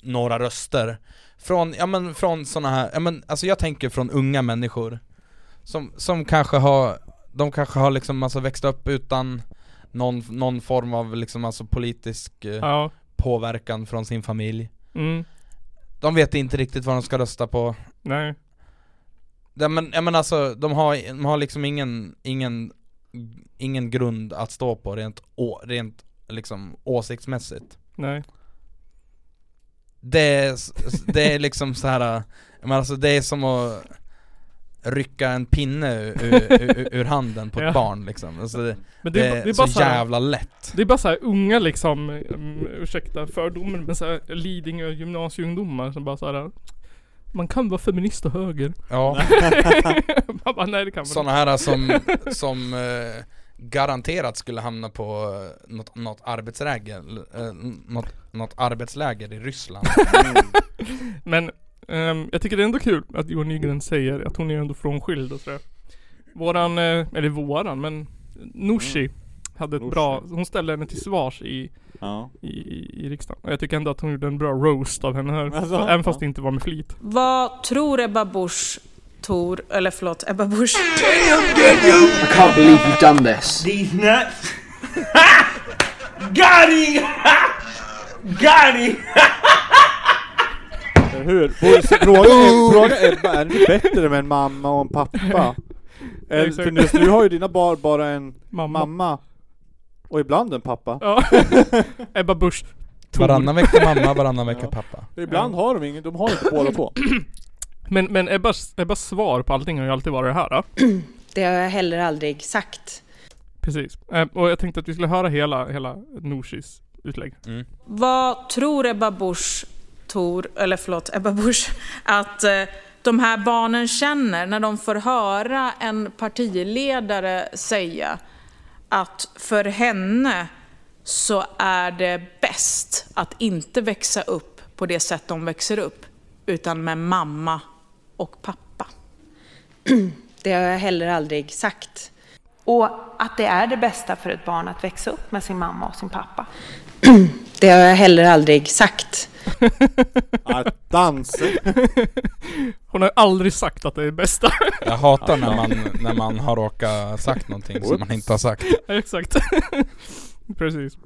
några röster Från, ja men från såna här, ja men alltså jag tänker från unga människor Som, som kanske har, de kanske har liksom alltså växt upp utan någon, någon form av liksom alltså politisk eh,
ja.
påverkan från sin familj
Mm.
de vet inte riktigt vad de ska rösta på.
Nej.
Ja, men, ja, men alltså, de har, de har liksom ingen, ingen, ingen grund att stå på rent, å, rent liksom, åsiktsmässigt.
Nej.
Det är, s- s- det är liksom så här, ja, men alltså det är som att rycka en pinne ur, ur, ur, ur handen på ett
Ja.
barn liksom. Alltså, det,
Men
det,
det, är-
är
det är bara
så
så här,
jävla lätt.
det är bara så här unga liksom, um, ursäkta fördomen, men så här Lidingö gymnasieungdomar som bara så här. Man kan vara feminist och höger.
Ja,
Man bara, nej det kan man
sådana här som, som eh, garanterat skulle hamna på eh, något, något arbetsläger, eh, något, något arbetsläger i Ryssland.
Men ehm, jag tycker det är ändå kul att Johan Nygren säger att hon är ändå frånskild och sådär. Våran, eh, eller våran, men Nooshi hade ett
Mm. Nooshi.
bra, hon ställde henne till svars i,
Ja.
i, i, i riksdagen. Och jag tycker ändå att hon gjorde en bra roast av henne här.
Alltså,
även fast
ja.
det inte var med flit.
Vad tror Ebba Busch Tor, eller förlåt, Ebba Busch
I can't believe you've done this.
These nuts. Got him! Got him!
Eller hur? Boris, Fråga, fråga Ebba, är ni bättre med en mamma och en pappa? Eller,
Exakt.
för nu- nu har ju dina barn bara en
Mamma.
mamma. och ibland en pappa.
Ja. Ebba Busch Thor.
Varannan vecka mamma, varannan vecka pappa.
Ibland har de ingen, de har inte båda två.
Men, men Ebbas, Ebbas svar på allting har ju alltid varit det här. Då.
Det har jag heller aldrig sagt.
Precis. Eh, och jag tänkte att vi skulle höra hela, hela Nooshis utlägg.
Vad tror Ebba Busch Tor, eller förlåt, Ebba Busch att eh, de här barnen känner när de får höra en partiledare säga att för henne så är det bäst att inte växa upp på det sätt de växer upp utan med mamma och pappa.
Det har jag heller aldrig sagt. Och att det är det bästa för ett barn att växa upp med sin mamma och sin pappa.
Det har jag heller aldrig sagt.
Att Ah, dansa.
Hon har ju aldrig sagt att det är det bästa.
Jag hatar när man, när man har råkat sagt någonting som man inte har sagt.
Ja, exakt. Precis.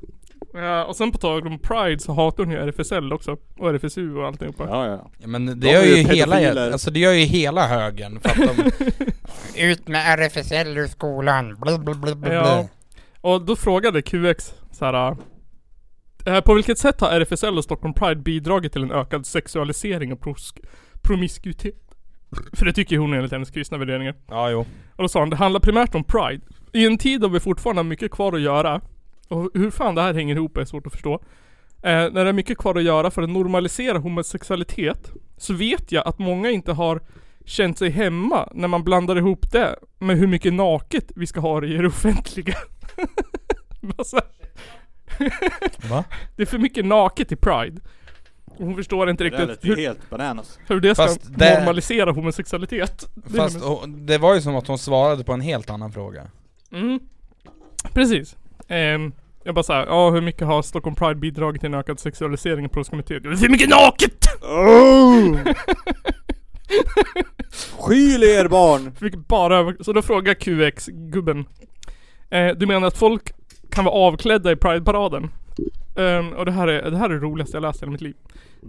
Ja, och sen på tal om Pride så hatar hon ju RFSL också. Och RFSU och alltihopa.
Ja, ja.
Ja, men det
De
gör
är
ju
ju
hela,
pedofiler.
alltså det gör ju hela högen för att de,
Ut med RFSL ur skolan. Bli, bli, bli, bli,
Ja.
bli.
Och då frågade QX så här. eh, På vilket sätt har RFSL och Stockholm Pride bidragit till en ökad sexualisering och pros- promiskuitet? För det tycker ju hon enligt hennes kristna värderingar.
ja jo.
Och då sa han, det handlar primärt om Pride. I en tid då vi fortfarande har mycket kvar att göra, och hur fan det här hänger ihop är svårt att förstå. Eh, när det är mycket kvar att göra för att normalisera homosexualitet, så vet jag att många inte har känt sig hemma när man blandar ihop det med hur mycket naket vi ska ha i det offentliga. Bara så här.
Va?
Det är för mycket naket i Pride. Och Hon förstår inte
Det där
riktigt
lät ju
hur,
helt bananas.
hur det ska
Fast det-
normalisera homosexualitet. Det är
Fast
nämligen-
och, det var ju som att hon svarade på en helt annan fråga.
Mm. Precis. Ehm, jag bara såhär, ja hur mycket har Stockholm Pride bidragit till en ökad sexualisering och promiskuitet? Det är för mycket naket!
Oh! Skyl er barn!
Fick bara över... Så då frågar QX-gubben. Eh, du menar att folk kan vara avklädda i Pride-paraden? Ehm, och det här, är, det här är det roligaste jag läst i hela mitt liv.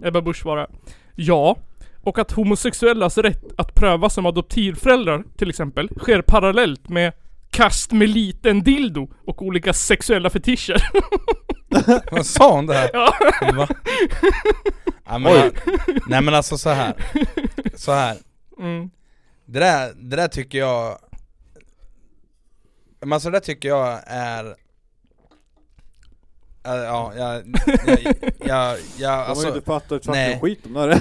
Ebba Busch svarar Ja, och att homosexuellas rätt att prövas som adoptivföräldrar till exempel sker parallellt med kast med liten dildo och olika sexuella fetischer.
Vad sa hon det här?
Ja.
Va? Ja, men,
Oj.
nej men alltså så här. Så här.
Mm.
Det, där, det där tycker jag... Men alltså det där tycker jag är... Äh, Ja, jag... Jag... jag, jag
har ju
alltså,
inte fattat ett fucking
nej.
skit om det här.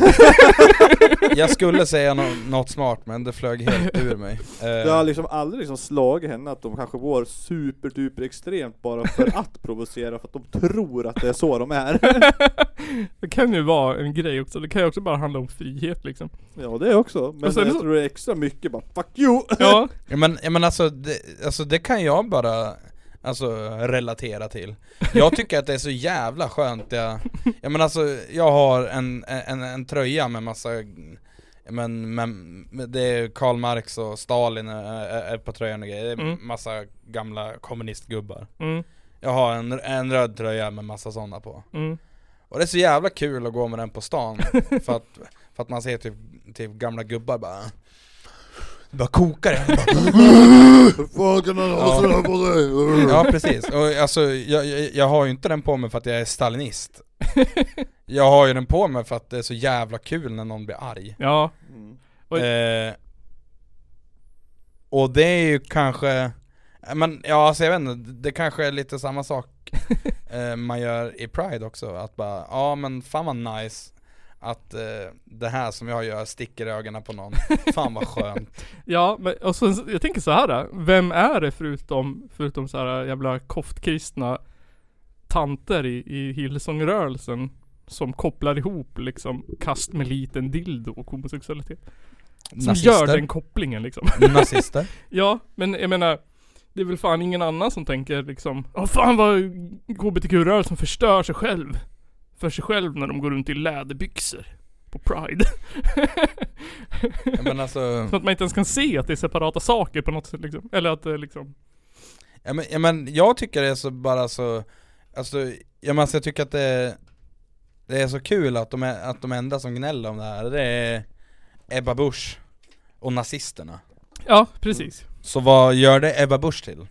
Jag skulle säga no- något smart men det flög helt ur mig. Eh,
Det har liksom aldrig liksom slagit henne att de kanske går superduper extremt bara för att provocera för att de tror att det är så de är.
Det kan ju vara en grej också. Det kan ju också bara handla om frihet liksom.
Ja det också. Men
Och sen
jag
så-
tror det är extra mycket bara 'fuck you'
Ja.
Ja men, ja, men alltså, det, alltså det kan jag bara alltså, relatera till Jag tycker att det är så jävla skönt jag, jag men alltså jag har en, en, en tröja med massa ja, men, men det är Karl Marx och Stalin är, är är på tröjan och grejer, det är
Mm.
massa gamla kommunistgubbar
Mm.
Jag har en, en röd tröja med massa sådana på
Mm.
Och det är så jävla kul att gå med den på stan för att, för att man ser typ, typ gamla gubbar bara det bara kokar i handen, bara-
Fan, kan man ha sådär på sig?
Ja precis, och alltså jag, jag, jag har ju inte den på mig för att jag är stalinist Jag har ju den på mig för att det är så jävla kul när någon blir arg
Ja.
Mm.
Och-
eh, Och det är ju kanske men ja, alltså jag vet inte, det kanske är lite samma sak eh, man gör i Pride också, att bara, ja men fan vad nice att eh, det här som jag gör sticker i ögonen på någon, fan vad skönt
Ja, men och sen, jag tänker så här. då. Vem är det förutom, förutom så här jävla koftkristna tanter i, i Hillsongrörelsen som kopplar ihop liksom kast med liten dildo och homosexualitet? Som gör
Nazister.
den kopplingen liksom.
Nazister.
ja, men jag menar det är väl fan ingen annan som tänker liksom Åh fan vad HBTQ-rörelsen förstör sig själv. För sig själv när de går runt i läderbyxor. På Pride.
Ja, men alltså
Så att man inte ens kan se att det är separata saker på något sätt liksom. Eller att det liksom...
Ja men, ja, men jag tycker det är så bara så, alltså, ja, men alltså jag tycker att det, det är så kul att de, är, att de enda som gnäller om det här, det är Ebba Busch och nazisterna.
Ja, precis.
Så vad gör det Ebba Busch till?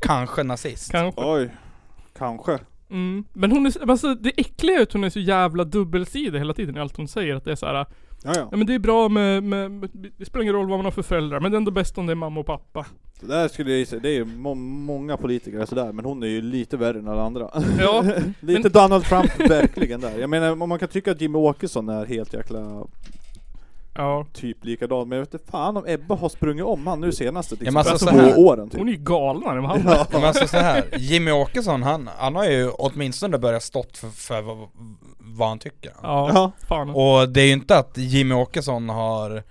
Kanske nazist.
Kanske.
Oj. Kanske.
Mm. Men hon är, så- alltså det äckliga är att hon är så jävla dubbelsidig hela tiden i allt hon säger. Att det är så här.
Ja, ja.
men det är bra med, med, med, det spelar ingen roll vad man har för föräldrar. Men det är ändå bäst om det är mamma och pappa.
Det där skulle jag säga, det är ju må- många politiker är sådär, men hon är ju lite värre än alla andra.
Ja,
lite
men-
Donald Trump verkligen där. Jag menar, om man kan tycka att Jimmy Åkesson är helt jäkla
Ja.
typ likadan, men jag vet inte fan om Ebba har sprungit om han nu senaste
Ja,
liksom,
men alltså så
två
här.
åren typ.
Hon är ju galnare än vad han
Ja. Men alltså så här, Jimmy Åkesson han, han har ju åtminstone börjat stått för, för vad, vad han tycker.
Ja, fan.
Och det är ju inte att Jimmy Åkesson har,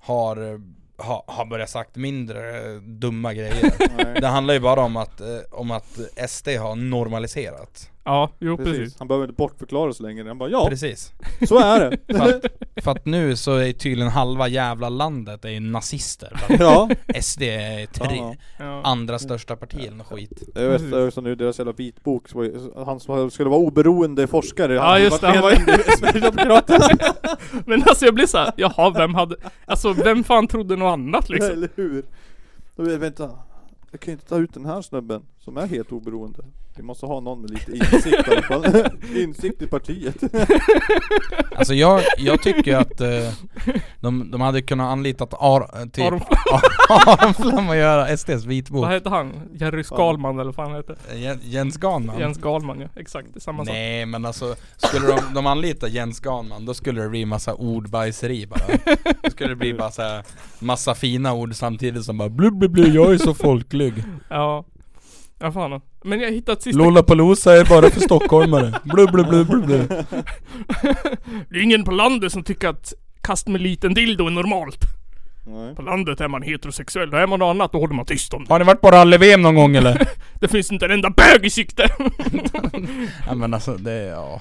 har, ha- har börjat sagt mindre eh, dumma grejer.
Nej.
det handlar ju bara om att, eh, om att SD har normaliserat.
Ja, jo precis.
Han behöver inte bortförklara så länge, han bara ja,
Precis.
så är det.
För att, för att nu så är tydligen halva jävla landet är ju nazister. För att
Ja.
SD är
Ja.
tre,
Ja.
andra största partiet och skit.
Jag vet jag också nu, deras jävla vitbok, så var ju- han som skulle vara oberoende forskare,
Ja just det, han var
medlem i Sverigedemokraterna.
Men alltså jag blir såhär, jaha vem hade, alltså vem fan trodde något annat
Ja,
liksom?
Eller hur? Då vill jag vänta. Jag kan ju inte ta ut den här snubben som är helt oberoende. Vi måste ha någon med lite insikt i alla fall. Insikt i partiet.
Alltså jag, jag tycker ju att eh, de, de hade kunnat anlitat Ar, eh, typ
Aron-
Aron Flam att göra SDs vitbok
Vad heter han? Jerry Skalman eller vad han heter.
Jen- Jens Ganman?
Jens Galman ja, exakt. Det är samma sak.
Nej men alltså, skulle de, de anlita Jens Ganman då skulle det bli massa ordbajseri bara Då skulle det bli bara så här, massa fina ord samtidigt som bara blu, blu, blu, jag är så folklig
Ja. Ja fan. Men jag hittade ett sista
Lollapalooza är bara för stockholmare, blu, blu, blu, blu, blu.
Det är ingen på landet som tycker att kast med liten dildo är normalt.
Nej.
På landet är man heterosexuell, och är man något annat då håller man tyst om det.
Har ni varit på rally-VM någon gång eller?
Det finns inte en enda bög i sikte!
Ja men alltså det, är- ja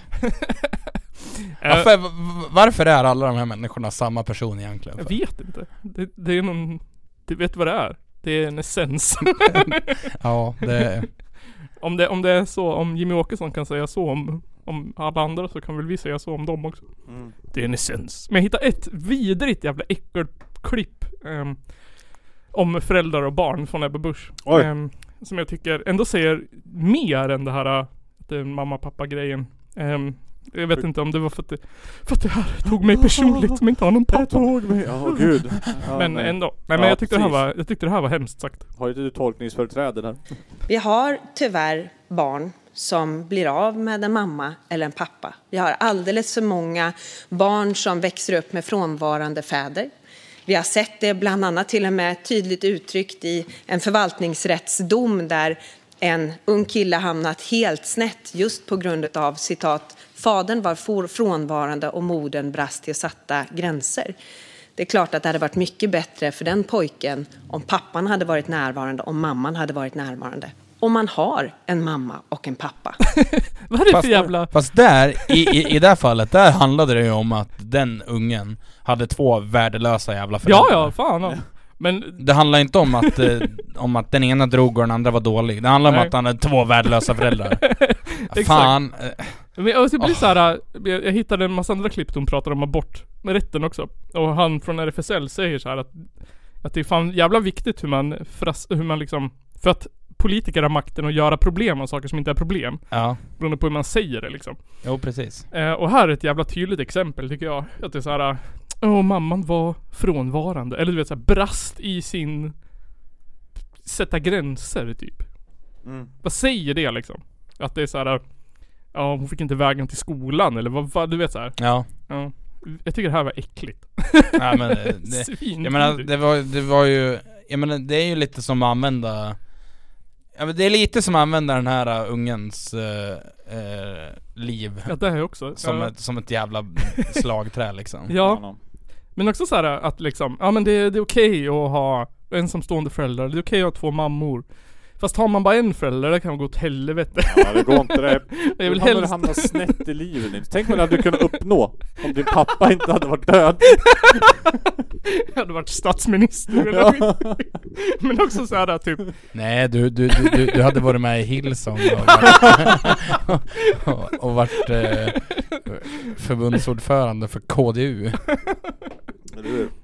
Eh,
Varför, varför är alla de här människorna samma person egentligen?
jag
För?
vet inte. Det, det är någon... Du vet vad det är? Det är en essens.
Ja, det är
Om det, om det är så, om Jimmy Åkesson kan säga så om, om alla andra så kan väl vi säga så om dem också.
Mm.
Det är en essens. Men jag hittade ett vidrigt jävla äckelklipp ehm, om föräldrar och barn från Ebba Busch.
Oj.
Ehm, som jag tycker ändå säger mer än det här eh, att det är mamma pappa grejen. jag vet inte om det var för att det, för att det här tog mig personligt som inte har någon pappa. Det
tog mig, ja gud. Ja,
men
nej.
ändå. Nej men
Ja,
jag, tyckte det här
precis.
var, jag tyckte det här var hemskt sagt.
Har inte du tolkningsföreträde där?
Vi har tyvärr barn som blir av med en mamma eller en pappa. Vi har alldeles för många barn som växer upp med frånvarande fäder. Vi har sett det bland annat till och med tydligt uttryckt i en förvaltningsrättsdom där en ung kille hamnat helt snett just på grund av citat fadern var for- frånvarande och modern brast till satta gränser. Det är klart att det hade varit mycket bättre för den pojken om pappan hade varit närvarande, om mamman hade varit närvarande. Om man har en mamma och en pappa.
Vad är det
Fast-
för jävla...
Fast där, i, i, i det här fallet, där handlade det ju om att den ungen hade två värdelösa jävla föräldrar.
Ja ja, fan ja. Men
Det handlar inte om att, eh, om att den ena drog och den andra var dålig. Det handlar om
Nej.
att han hade två värdelösa föräldrar.
Exakt.
Fan. eh,
Men jag, jag, blir så här, jag, jag hittade en massa andra klipp där hon pratar om aborträtten också. Och han från RFSL säger så här att, att det är fan jävla viktigt hur man, fras, hur man liksom, för att politiker har makten att göra problem av saker som inte är problem.
Ja.
Beroende på hur man säger det liksom.
Jo precis.
Eh, och här är ett jävla tydligt exempel tycker jag. Att det är så här, åh mamman var frånvarande. Eller du vet så här, brast i sin, sätta gränser typ.
Mm.
Vad säger det liksom? Att det är så här. Ja, hon fick inte vägen till skolan eller vad, vad du vet så här.
Ja.
ja. Jag tycker det här var äckligt.
Ja, men, eh, det, jag menar, det var, det var ju... Jag menar, det är ju lite som att använda... Ja, men det är lite som att använda den här uh, ungens eh, eh, liv.
Ja, det är också.
Som,
Ja.
ett, som ett jävla slagträ liksom.
Ja. Men också så här att liksom, ja men det, det är okej att ha ensamstående föräldrar, det är okej att ha två mammor. Fast har man bara en förälder, det kan gå åt helvete.
Ja det går inte det.
Jag vill
Då kommer du
helst-
hamna snett i livet Nils. Tänk vad du hade kunnat uppnå om din pappa inte hade varit död.
Jag hade varit statsminister eller skit. Men också så här typ,
Nej, du, du, du, du, du hade varit med i Hillsong och varit, och, och varit eh, förbundsordförande för KDU.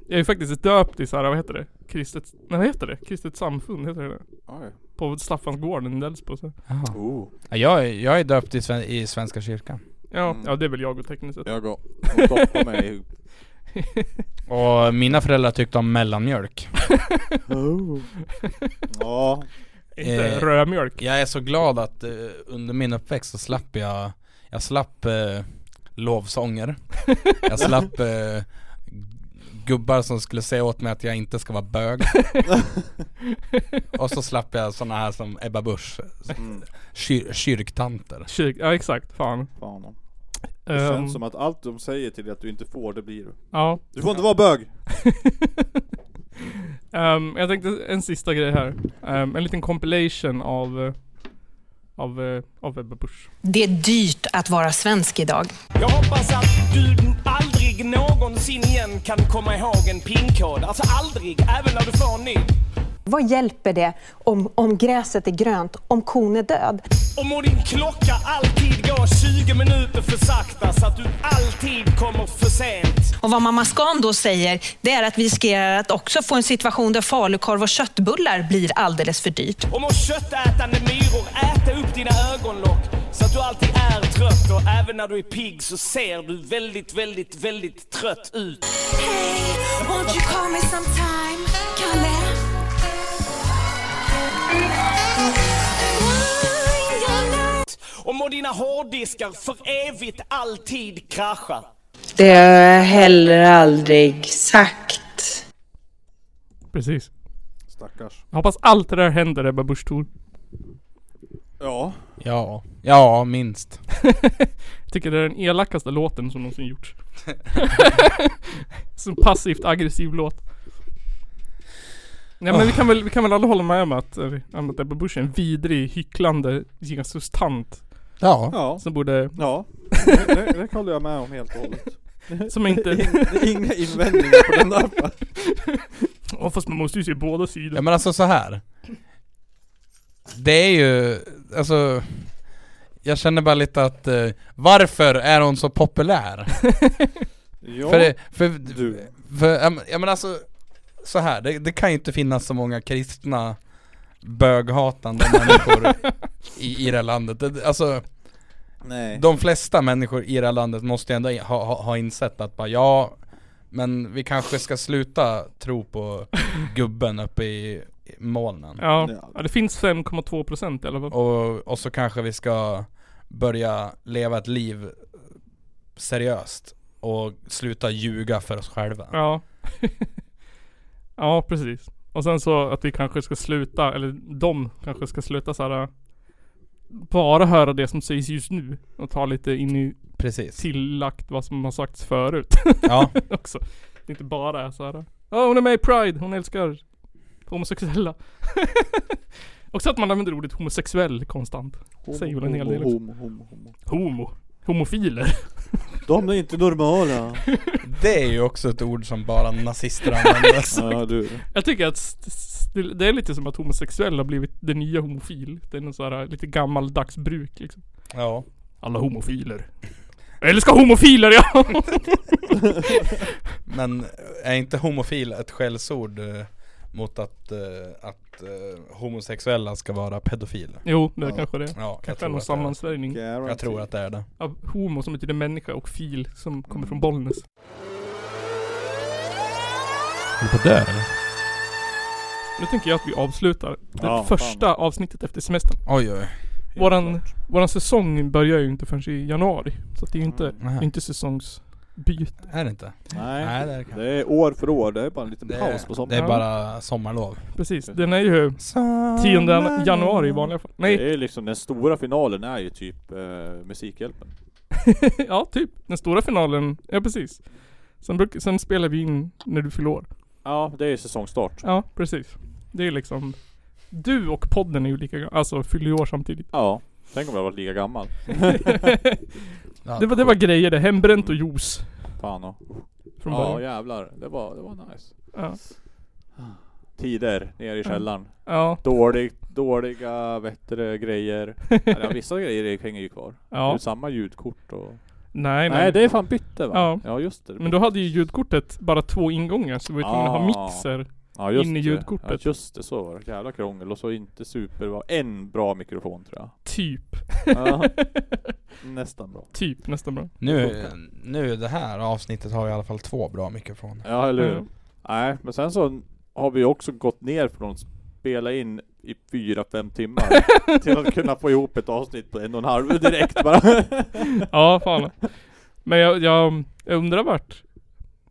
Jag är faktiskt döpt i såhär, vad heter det? Kristet, nej vad heter det? Kristet samfund, heter det det
Oj.
På Staffansgården i Delsbo så.
Jaha.
Oh.
Ja, jag, är- jag är döpt i, sven, i Svenska kyrkan.
Ja,
Mm.
ja det är väl jag och tekniskt
Eh.
sett.
Jag går. Och doppar mig i-
Och mina föräldrar tyckte om mellanmjölk.
Ja.
Inte rödmjölk.
Jag är så glad att eh, under min uppväxt så slapp jag, jag slapp eh, lovsånger. Jag slapp eh, gubbar som skulle säga åt mig att jag inte ska vara bög. Och så slapp jag sådana här som Ebba Busch.
mm,
Kyr, kyrktanter.
Kyr, ja exakt, fan.
Fan. Det
Ehm,
känns som att allt de säger till dig att du inte får, det blir du.
Ja.
Du får inte vara bög!
Ehm, jag tänkte en sista grej här. Ehm, en liten compilation av, eh, av, eh, av Ebba Busch.
Det är dyrt att vara svensk idag.
Jag hoppas att du aldrig någonsin igen kan komma ihåg en pinkod. Alltså aldrig, även när du får en ny.
Vad hjälper det om, om gräset är grönt, om kon är död?
Och må din klocka alltid gå 20 minuter för sakta så att du alltid kommer för sent.
Och vad mamma Skan då säger, det är att vi riskerar att också få en situation där falukorv och köttbullar blir alldeles för dyrt.
Och må köttätande myror äta upp dina ögonlock så att du alltid är trött och även när du är pigg så ser du väldigt, väldigt, väldigt trött ut.
Won't you call me sometime, Kalle?
Och må dina hårddiskar för evigt alltid krascha.
Det har jag heller aldrig sagt.
Precis.
Stackars.
Jag hoppas allt det där händer Ebba Busch Thor.
Ja.
Ja, ja minst.
Jag tycker det är den elakaste låten som någonsin gjorts. som passivt aggressiv låt. Nej men vi kan väl, vi kan väl alla hålla med om att, eh, om att Ebba Busch är en vidrig, hycklande Jesus-tant.
Ja.
Ja.
Som borde...
Ja. Det, det, det håller jag med om helt och hållet.
Som inte...
Inga invändningar på den där.
Ja fast man måste ju se båda sidor.
Ja men alltså så här. Det är ju, alltså Jag känner bara lite att eh, Varför är hon så populär?
Ja,
för, det- för,
du.
för ja, men- ja men alltså så här, det, det kan ju inte finnas så många kristna böghatande människor i, i det här landet Det- Alltså
Nej.
De flesta människor i det här landet måste ju ändå ha, ha, ha insett att bara ja Men vi kanske ska sluta tro på gubben uppe i i molnen
Ja, ja det finns 5,2% i alla fall.
och, och så kanske vi ska börja leva ett liv seriöst och sluta ljuga för oss själva.
Ja. ja, precis. Och sen så att vi kanske ska sluta, eller de kanske ska sluta så här. äh, Bara höra det som sägs just nu och ta lite in i
Precis.
Typ. tillagt vad som har sagts förut.
Ja.
Också. Det inte bara är så här. Ja, hon är med i Pride, hon älskar homosexuella. Också att man använder ordet homosexuell konstant. Säger väl en hel
homo,
del också.
homo, homo, homo.
Homo. Homofiler.
De är inte normala.
Det är ju också ett ord som bara nazister använder.
ja, du.
Jag tycker att st- st- det är lite som att homosexuell har blivit det nya homofil. Det är någon sån här äh, lite gammaldags bruk liksom.
Ja.
Alla homofiler. Jag älskar homofiler ja!
Men eh, är inte homofil ett skällsord eh, mot att, eh, att eh, homosexuella ska vara pedofiler?
Jo, det är kanske det är.
Ja, jag
kanske är
tror,
någon
att det är.
sammansvärjning.
det. jag tror att det är det.
Av homo som betyder människa och fil som kommer från Bollnäs.
Är du på dörr eller?
Nu tänker jag att vi avslutar det
Ja,
första avsnittet efter semestern.
Oj oj.
Våran, våran säsong börjar ju inte förrän i januari. Så att det är ju inte, det
Nähä.
är inte säsongsbyte.
Är det inte?
Nej,
Nej, det är
det är år för år. Det är bara en liten paus på sommaren.
Det är bara sommarlov.
Precis, den är ju 10 januari i vanliga fall. Nej,
Det är liksom den stora finalen är ju typ eh, Musikhjälpen.
ja typ. Den stora finalen, ja precis. Sen, bruk, sen spelar vi in när du fyller år.
Ja, det är säsongstart.
Ja, precis. Det är liksom... Du och podden är ju lika gamla, alltså fyller ju år samtidigt.
Ja, tänk om jag varit lika gammal.
det, var, det var grejer det. Hembränt och juice.
Fan och.
Från
Ja
början.
jävlar, det var, det var nice.
Ja.
Tider nere
Mm.
i källaren.
Ja.
Dålig, dåliga, bättre grejer. Eller, ja, vissa grejer hänger ju kvar.
Ja.
Det är ju samma ljudkort och...
Nej,
Nej, det är fan bytte va?
Ja.
Ja, just det.
Men då hade ju ljudkortet bara två ingångar så vi var tvungna att ha
Ah.
mixer
Ja, just
in i
det.
ljudkortet.
Ja, just det, så var det. Jävla krångel och så inte super... det var En bra mikrofon tror jag.
Typ.
Ja. Nästan bra.
Typ, nästan bra.
Nu, nu det här avsnittet har i alla fall två bra mikrofoner.
Ja, eller hur?
Mm.
Nej, men sen så har vi också gått ner från att spela in i fyra, fem timmar till att kunna få ihop ett avsnitt på en och en halv direkt bara.
ja, fan. Men jag, jag, jag undrar vart...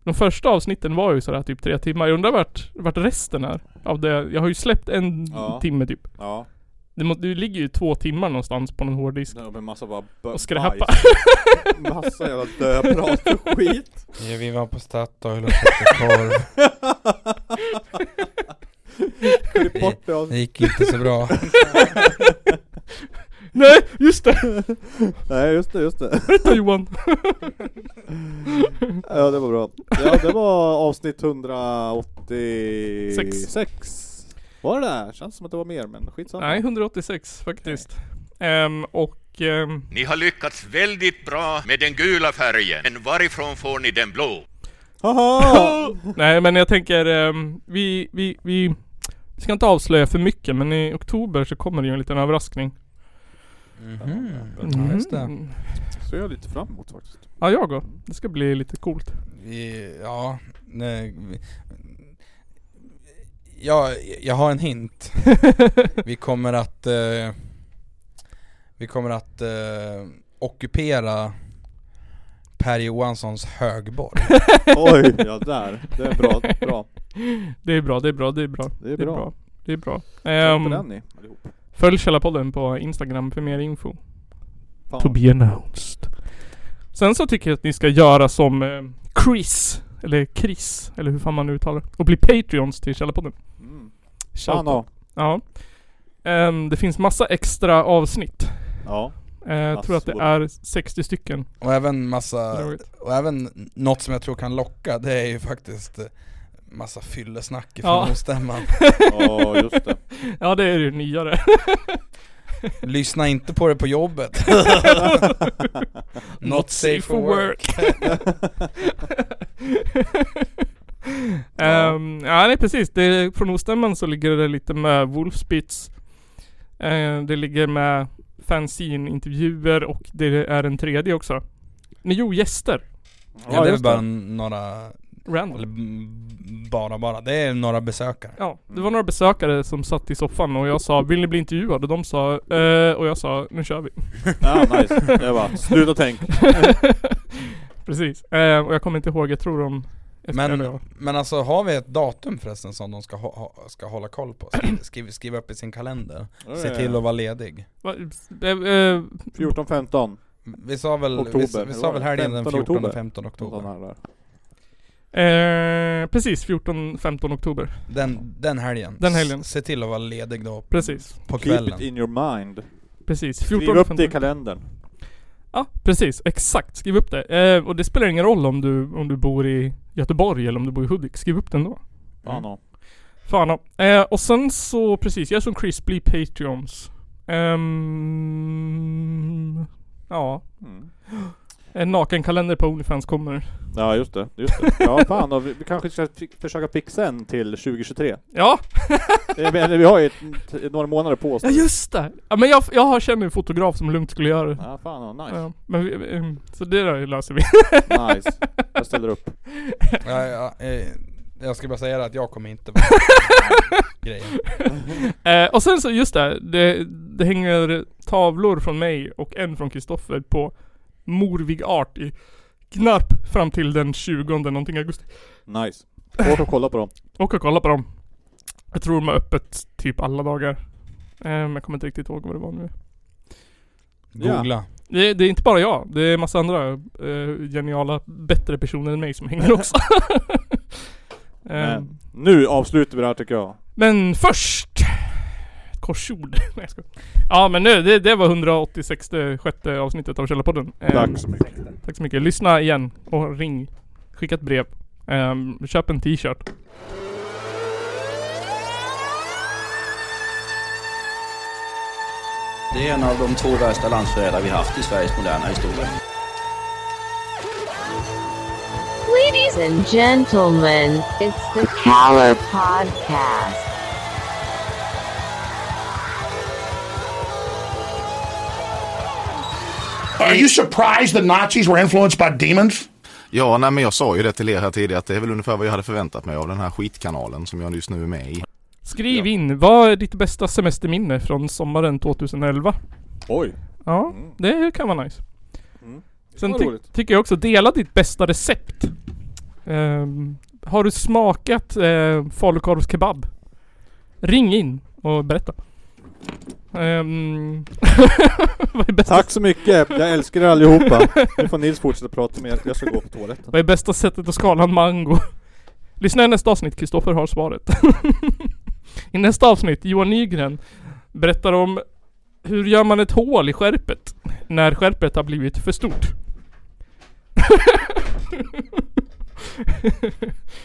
De första avsnitten var ju sådär typ tre timmar. Jag undrar vart, vart resten är. Av det. Jag har ju släppt en
Ja.
timme typ.
Ja,
Det, må, det ligger ju två timmar någonstans på någon hårddisk.
det var en massa bara b-
Och skräpa.
bajs. Massa jävla döprat och skit.
Ja, vi var på Statoil och köpte korv.
Klipp bort det
Det gick inte så bra.
Nej, just det!
Nej, just det, just det.
Berätta Johan!
Ja, det var bra. Ja, det var avsnitt 186. Var det där? Känns som att det var mer, men skitsamma.
Nej, 186 faktiskt. Ehm, och... ehm,
Ni har lyckats väldigt bra med den gula färgen, men varifrån får ni den blå?
Haha!
Nej men jag tänker, ehm, vi, vi, vi, vi ska inte avslöja för mycket men i oktober så kommer det ju en liten överraskning.
Ja, just det.
Mhm.
Så jag är lite fram emot faktiskt.
Ja jag går. Det ska bli lite coolt.
Vi, ja, nej, vi, ja, jag har en hint. Vi kommer att eh, Vi kommer att eh, ockupera Per Johanssons högborg.
Oj, ja där. Det är bra, bra.
Det är bra, det är bra, det är bra.
Det är bra.
Det är bra.
Ehm,
Ehm,
den ni allihop.
följ Källarpodden på Instagram för mer info.
Fan.
To be announced. Sen så tycker jag att ni ska göra som eh, Chris, eller Chris, eller hur fan man nu uttalar det. Och bli Patreons till Källarpodden.
Mm.
Shoutout.
Fan ja.
Ja. Ehm, det finns massa extra avsnitt.
Ja.
Eh, jag tror att det
Massor.
är 60 stycken.
Och även massa,
Dragit.
och även något som jag tror kan locka det är ju faktiskt eh, Massa fyllesnack ifrån ja. stämman
ja det är ju nyare.
Lyssna inte på det på jobbet. Not safe for work.
Ehm, ja, nej precis. Det, är- från Ostämman så ligger det lite med Wolfspitz. Eh, det ligger med fanzine-intervjuer och det är en tredje också. Men jo, gäster.
ja, det är väl bara några...
Random.
Eller mm, bara bara, det är några besökare.
Ja, det var några besökare som satt i soffan och jag sa Vill ni bli intervjuade? Och de sa eh, Och jag sa Nu kör vi.
Ja, nice. Jag bara, "Sluta tänk."
Mm.
Precis. Eh, och jag kommer inte ihåg, jag tror de... jag tror det var-
Men, men alltså har vi ett datum förresten som de ska, ha, ha- ska hålla koll på? Skriva, skriva, skriva upp i sin kalender.
Ja,
Se
ja,
till
ja.
att vara ledig.
Va, eh, eh,
14-15
Vi sa väl,
Oktober.
vi, vi sa väl helgen den
15 oktober.
14-15 oktober.
Sådana här.
Eh, precis, 14-15 oktober.
Den, den helgen.
Den helgen.
S- Se till att vara ledig då.
Precis.
På
Keep
kvällen.
it in your mind.
Precis, 14
Skriv upp det i
15.
kalendern.
Ja, precis. Exakt. Skriv upp det. Eh, och det spelar ingen roll om du, om du bor i Göteborg eller om du bor i Hudik. Skriv upp den då.
Fan ja.
Fan ja. eh, Och sen så, precis. Jag är som Chris, bli Patreons. Ehm, ja.
Mm.
En nakenkalender på Onlyfans kommer.
Ja just det, just det. Ja fan, och vi, vi kanske ska fi- försöka fixa en till 2023.
Ja!
Eh, men vi har ju ett- t- några månader på oss.
Ja just det! Ja, men jag, jag har- känner en fotograf som lugnt skulle göra det.
Ja fan, ja, Ah, nice.
Ja, men vi, ehm, så det där löser vi.
Nice. Jag ställer upp.
Ja, ja, eh, jag ska bara säga att jag kommer inte vara med i grejen.
Eh, och sen så, just det, det, det hänger tavlor från mig och en från Kristoffer på Morvig Art i Knarp fram till den 20 någonting augusti.
Nice. Åk och kolla på dem.
Och kolla på dem. Jag tror de har öppet typ alla dagar. Eh, men jag kommer inte riktigt ihåg vad det var nu.
Googla.
Det, det är inte bara jag. Det är massa andra eh, geniala, bättre personer än mig som hänger också. Eh,
Men nu avslutar vi det här tycker jag.
Men först! Ett korsord. Nej jag skojar. Ja men nu, det, det var 186 sjätte avsnittet av Källarpodden. Ehm,
Tack så mycket.
Tack så mycket. Lyssna igen och ring. Skicka ett brev. Ehm, köp en t-shirt.
Det är en av de två värsta landsförrädare vi haft i Sveriges moderna historia.
Ladies and gentlemen, it's the Caller Podcast.
Are you surprised the Nazis were influenced by demons?
Ja, nej, men jag sa ju det till er här tidigare att det är väl ungefär vad jag hade förväntat mig av den här skitkanalen som jag just nu är med i.
Skriv in. Vad är ditt bästa semesterminne från sommaren 2011?
Oj.
Ja, det kan vara nice. Sen
Mm. var
ty-
roligt.
tycker jag också, dela ditt bästa recept. Ehm, har du smakat uh, falukorvskebab? Ring in och berätta. Ehm, vad är bästa
Tack så mycket. Jag älskar er allihopa. Nu får Nils fortsätta prata med er. Jag ska gå på toaletten.
Vad är bästa sättet att skala en mango? Lyssna i nästa avsnitt, Kristoffer har svaret. I nästa avsnitt, Johan Nygren berättar om hur gör man ett hål i skärpet när skärpet har blivit för stort.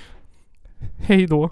Hej då.